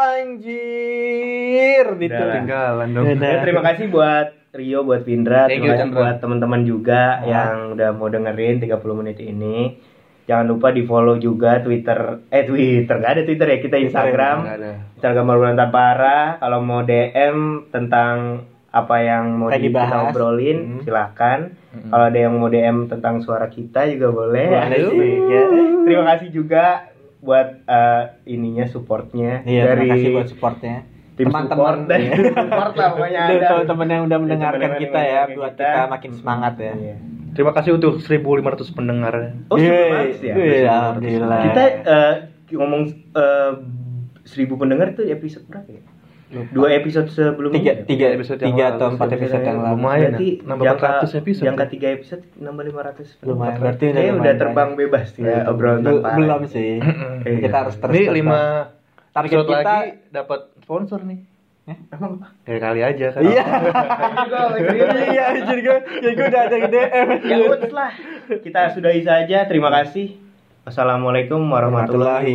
[SPEAKER 1] anjir gitu.
[SPEAKER 3] Udah lah.
[SPEAKER 2] tinggalan dong
[SPEAKER 1] Dadah.
[SPEAKER 3] Ya, terima kasih buat Rio, buat Vindra, terima
[SPEAKER 2] Thank you,
[SPEAKER 3] kasih
[SPEAKER 2] Chandra.
[SPEAKER 3] buat teman-teman juga
[SPEAKER 2] Ah.
[SPEAKER 3] yang udah mau dengerin 30 menit ini. Jangan lupa di follow juga Twitter, eh Twitter nggak ada Twitter ya kita Instagram,
[SPEAKER 2] Nggak ada.
[SPEAKER 3] Instagram Marbulan Tapara. Kalau mau DM tentang apa yang mau
[SPEAKER 1] Pengen
[SPEAKER 3] di-
[SPEAKER 1] dibahas.
[SPEAKER 3] kita obrolin,
[SPEAKER 1] Hmm.
[SPEAKER 3] silahkan.
[SPEAKER 2] Mm-mm.
[SPEAKER 3] Kalau ada yang mau DM tentang suara kita juga boleh.
[SPEAKER 1] Boleh
[SPEAKER 3] Aduh.
[SPEAKER 1] sih, ya.
[SPEAKER 3] Terima kasih juga buat eh, ininya supportnya
[SPEAKER 1] Iya,
[SPEAKER 3] dari
[SPEAKER 1] terima kasih buat supportnya.
[SPEAKER 3] tim support (laughs)
[SPEAKER 1] (laughs) Teman-teman
[SPEAKER 3] dan support lah pokoknya
[SPEAKER 1] dari
[SPEAKER 3] ada.
[SPEAKER 1] (laughs) teman-teman yang udah mendengarkan
[SPEAKER 3] teman-teman
[SPEAKER 1] kita
[SPEAKER 3] yang
[SPEAKER 1] ya
[SPEAKER 3] mendengarkan
[SPEAKER 1] buat
[SPEAKER 3] kita.
[SPEAKER 1] kita makin semangat ya.
[SPEAKER 3] Iya.
[SPEAKER 2] terima kasih untuk 1500 pendengar
[SPEAKER 3] Oh,
[SPEAKER 1] Yeay,
[SPEAKER 3] 1.500 ya?
[SPEAKER 1] yeay, alhamdulillah.
[SPEAKER 3] Kita eh, ngomong eh, seribu pendengar itu episode berapa ya? Dua episode sebelumnya.
[SPEAKER 1] tiga
[SPEAKER 3] ya?
[SPEAKER 1] tiga
[SPEAKER 2] Episode yang
[SPEAKER 1] tiga
[SPEAKER 2] lalu,
[SPEAKER 1] atau empat
[SPEAKER 3] episode
[SPEAKER 1] episode
[SPEAKER 3] yang
[SPEAKER 1] yang lalu.
[SPEAKER 2] lumayan.
[SPEAKER 3] Berarti
[SPEAKER 2] ya, nambah
[SPEAKER 3] jangka,
[SPEAKER 2] 400 episode.
[SPEAKER 3] Jangka tiga episode nambah 500.
[SPEAKER 1] Lumayan, berarti udah
[SPEAKER 3] udah, udah
[SPEAKER 1] lumayan
[SPEAKER 3] terbang
[SPEAKER 1] banyak.
[SPEAKER 3] bebas ya obrolan
[SPEAKER 1] Bel-
[SPEAKER 3] tanpa.
[SPEAKER 1] belum (clears throat) sih.
[SPEAKER 3] Iya.
[SPEAKER 1] Kita harus terus.
[SPEAKER 2] ini
[SPEAKER 1] terbang.
[SPEAKER 2] lima
[SPEAKER 1] Target
[SPEAKER 2] episode
[SPEAKER 1] kita-
[SPEAKER 2] lagi dapat sponsor nih
[SPEAKER 3] Emang apa?
[SPEAKER 2] ya kali aja kan
[SPEAKER 1] (laughs) Iya.
[SPEAKER 3] Iya.
[SPEAKER 1] Iya, jadi gue jadi gue udah ada di DM.
[SPEAKER 3] Ya udah lah. Kita sudahi saja. Terima kasih. Wassalamualaikum warahmatullahi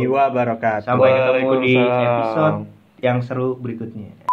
[SPEAKER 1] warahmatullahi wabarakatuh.
[SPEAKER 3] Sampai ketemu di
[SPEAKER 2] Waalaikumsalam.
[SPEAKER 3] episode yang seru berikutnya.